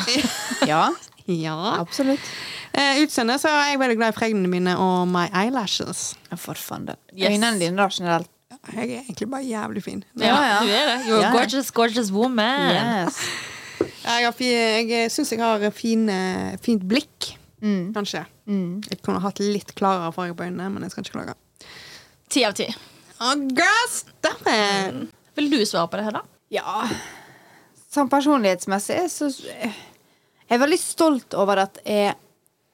B: ja.
A: Ja.
B: Absolutt.
A: Eh, Utseende så er jeg veldig glad i fregnene mine og my eyelashes.
B: Ja, For faen, da.
C: Yes.
B: Øynene dine, da, generelt.
A: Jeg er egentlig bare jævlig fin.
C: Ja,
B: ja.
C: du er det. You're a
B: Ja.
C: gorgeous, gorgeous woman.
B: Yes.
A: Jeg, har fi- jeg syns jeg har fine, fint blikk, kanskje. Jeg kunne hatt litt klarere farge på øynene, men jeg skal ikke klage.
C: Ti av ti.
A: Oh, girl, stop it!
C: Vil du svare på det, Hedda?
B: Ja Sånn personlighetsmessig så Jeg er veldig stolt over at jeg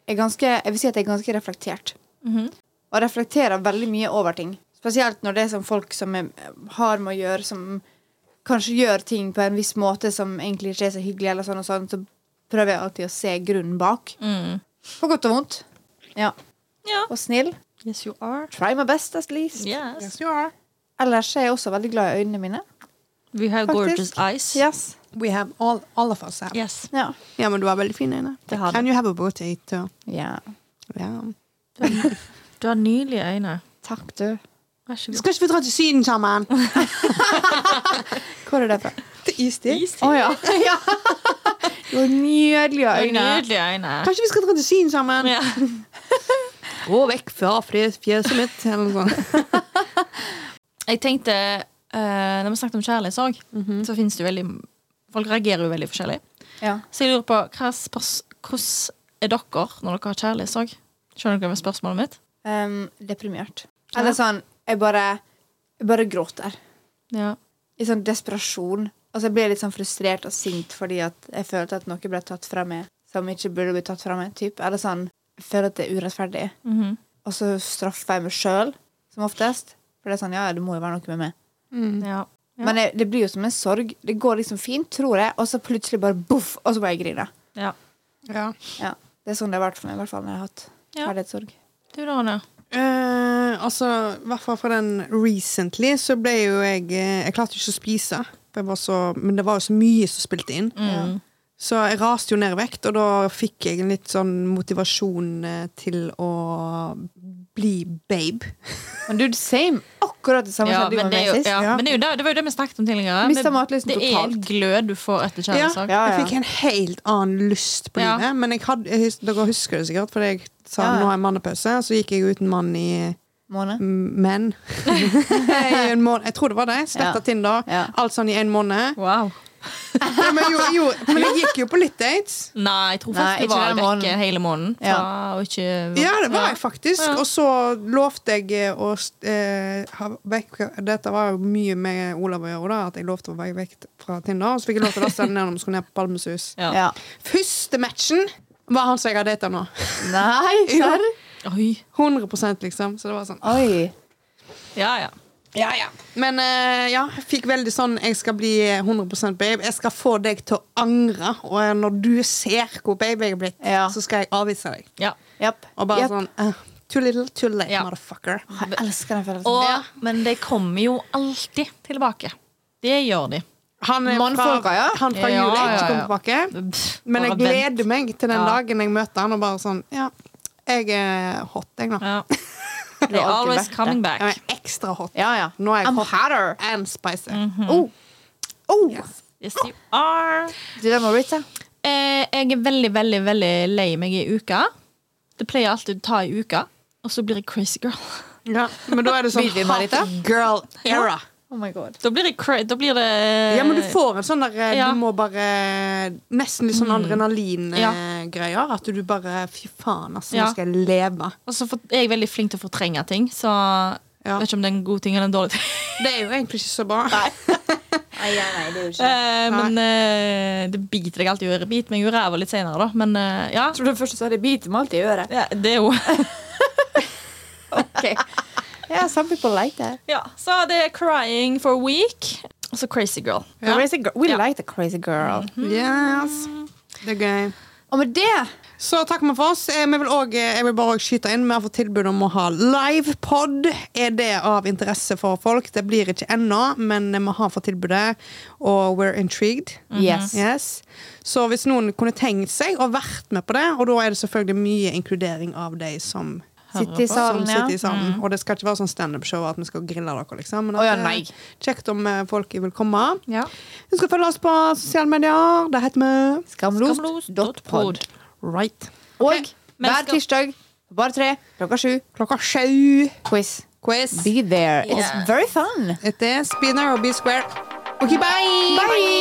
B: er ganske Jeg vil si at jeg er ganske reflektert. Og reflekterer veldig mye over ting. Spesielt når det er sånn folk som jeg har med å gjøre, som kanskje gjør ting på en viss måte som egentlig ikke er så hyggelig, eller sånn og sånn, så prøver jeg alltid å se grunnen bak.
C: Mm.
B: På godt og vondt. Ja.
C: Ja.
B: Og snill.
C: Yes, you are.
B: Try my best, at least.
C: Yes.
A: Yes, you are.
B: Ellers er jeg også veldig glad i øynene mine.
C: We have
B: Faktisk.
C: gorgeous eyes.
B: Yes.
A: We have all, all of us have.
C: Yes.
B: Ja.
A: Ja, men du har veldig fine øyne.
C: Det har du.
A: And you have a beauty too.
B: Ja.
A: Ja.
C: Du har nydelige øyne.
B: Takk, du.
C: Vær så god.
A: Skal ikke vi dra til Syden sammen?
B: Hvor er det fra?
A: Til istid?
B: Å ja. ja. Du har nydelige
C: Du har
B: øyne.
C: Nydelige øyne.
A: Kanskje vi skal dra til Syden sammen?
C: Ja.
A: Gå vekk fra fjes- fjeset mitt, eller noe sånt.
C: Jeg tenkte eh, Når vi snakket om kjærlighetssorg, så finnes det jo veldig Folk reagerer jo veldig forskjellig.
B: Ja.
C: Så jeg lurer på hva spørs- hvordan er dere når dere har kjærlighetssorg? Skjønner dere med spørsmålet mitt?
B: Ehm, deprimert. Eller sånn Jeg bare, jeg bare gråter.
C: Ja.
B: I sånn desperasjon. Altså Jeg ble litt sånn frustrert og sint fordi at jeg følte at noe ble tatt fra meg som ikke burde bli tatt fra meg. Typ. Eller sånn Jeg føler at det er urettferdig.
C: Mhm.
B: Og så straffer jeg meg sjøl, som oftest. For det er sånn Ja, det må jo være noe med meg.
A: Mhm.
C: ja. Ja.
B: Men jeg, det blir jo som en sorg. Det går liksom fint, tror jeg, og så plutselig bare boff, og så bare jeg griner.
C: ja.
A: Ja.
B: Ja. Det er sånn det har vært for meg, i hvert fall når jeg har hatt
C: Ja.
B: kjærlighetssorg.
C: Du da, Anja?
A: Eh, altså, i hvert fall for den recently, så ble jo jeg eh, Jeg klarte ikke å spise. for Jeg var så, men det var jo så mye som spilte inn.
C: Mm.
A: Så jeg raste jo ned i vekt, og da fikk jeg en litt sånn motivasjon eh, til å bli babe.
B: Men dude, same. Akkurat det samme
C: Ja,
B: skjedde jo
C: men
B: med
C: det, er
B: meg
C: jo,
B: sist.
C: ja,
A: Ja.
C: men det, er jo det, det var jo det vi snakket om tidligere.
B: Mistet
C: Det-
B: matlysten
C: det er en
B: totalt.
C: glød du får
A: Ja,
C: etter kjærlighetssorg.
B: Ja, ja.
A: Jeg fikk en helt annen lyst på
C: Ja.
A: livet. Men jeg hadde, jeg, hus- dere husker det sikkert, fordi jeg sa
B: Ja, ja.
A: nå har jeg mannepause. Så gikk jeg uten mann i
B: Måned.
A: mm, menn. I en måned. Jeg tror det var det. Sletta
B: Ja.
A: Tinder.
B: Ja.
A: Alt sånn i en måned.
C: Wow.
A: Ja, men, jo, jo, men jeg gikk jo på litt dates.
C: Nei, jeg tror
B: Nei,
C: faktisk det
B: ikke
C: var
B: den
C: vekke
B: måneden.
C: hele måneden. Fra,
B: Ja.
C: og ikke,
A: Ja, det var jeg faktisk.
C: Ja.
A: Og så lovte jeg eh, å eh, ha vekk Dette var jo mye med Olav å gjøre, da, at jeg lovte å være vekk fra Tinder. Og så fikk jeg lov til å laste den ned når vi skulle ned på Palmesus.
C: Ja.
B: Ja.
A: Første matchen var han som jeg har data nå.
B: Nei, serr?
C: Oi.
A: 100 liksom. Så det var sånn.
B: Oi.
C: Ja, ja.
A: Ja, ja. Men eh, ja, jeg fikk veldig sånn Jeg skal bli 100 babe. Jeg skal få deg til å angre. Og eh, når du ser hvor babe jeg er blitt,
B: Ja.
A: så skal jeg avvise deg.
C: ja.
B: Japp.
A: Og bare
B: Japp.
A: sånn eh, Too little, too late,
C: Ja.
A: motherfucker.
B: Jeg elsker den følelsen.
C: Og,
A: Ja.
C: Men de kommer jo alltid tilbake. Det gjør de.
A: Han er
B: Mannfolka,
A: fra,
B: ja.
A: han fra
C: Ja,
A: jul
C: ja,
A: ikke
C: ja.
A: kommer tilbake.
C: Pff,
A: Men
C: bare
A: jeg
C: vent.
A: gleder meg til den
C: Ja.
A: dagen jeg møter han og bare sånn Ja, jeg er hot, jeg nå.
C: ja.
B: Du
C: They're
B: har alltid
C: always
B: vært det.
C: coming
A: Jeg
C: back.
A: er ekstra hot.
B: Ja, ja.
A: Nå er jeg
B: I'm
A: hot
B: hotter.
A: and spicy.
B: Oh. Oh.
C: Mhm. Yes, you are.
B: Du, det er Maritza.
C: Eh, jeg er veldig, veldig veldig lei meg i uka. Det pleier jeg alltid å ta i uka. Og så blir jeg crazy girl.
A: Ja, men da er det sånn
B: Blir vi,
A: hot
B: Marita?
A: girl era.
B: Oh my god.
C: Da blir, jeg cra da blir det
A: Ja, men du får en sånn der eh,
C: Ja.
A: Du må bare Nesten litt sånn adrenalin-greier. At du bare Fy faen, altså.
C: Ja.
A: Nå skal jeg leve.
C: Og så for- er jeg veldig flink til å fortrenge ting, så
A: Ja.
C: vet ikke om det er en god ting eller en dårlig ting.
A: Det er jo egentlig ikke så bra.
B: Nei, nei, det er jo
C: Eh, men eh, det biter deg alltid i øret. Biter meg jo i ræva litt senere, da. Men eh, ja.
B: Jeg trodde først du sa det biter meg alltid i øret.
C: ja. Det er jo
B: Ok. yeah, some people like that.
C: Ja, så det er Crying for a Week. Og så Crazy Girl.
A: Ja.
B: Crazy girl. We
C: Ja. Mhm.
B: like the crazy girl.
A: Yes. Det er gøy.
B: Og med det
A: Så takk vi for oss. Eh, Vi vil også, jeg vil bare også skyte inn Vi har fått tilbud om å ha livepod. Er det av interesse for folk? Det blir ikke ennå, men vi har fått tilbudet, og we're intrigued.
C: Mhm.
B: Yes.
A: Yes. Så hvis noen kunne tenkt seg og vært med på det, og da er det selvfølgelig mye inkludering av de som,
B: Sitte i
A: som
B: salen, sånn, ja. Mm.
A: sitter i salen. Og det skal ikke være sånn standup-show at vi skal grille dere, liksom. Men
B: Å ja,
A: at det
B: nei.
A: er kjekt om eh, folk vil komme.
C: Ja.
A: Husk å følge oss på sosiale medier. Det heter vi
B: Skamlost.pod.
A: Right.
B: Og
C: Men
B: hver
C: skal-
B: tirsdag bare tre klokka sju
A: Klokka sju.
B: quiz.
A: Quiz.
B: Be there.
C: Yeah.
B: It's very fun.
A: It is be narrow, be square. Okay, bye.
B: Bye.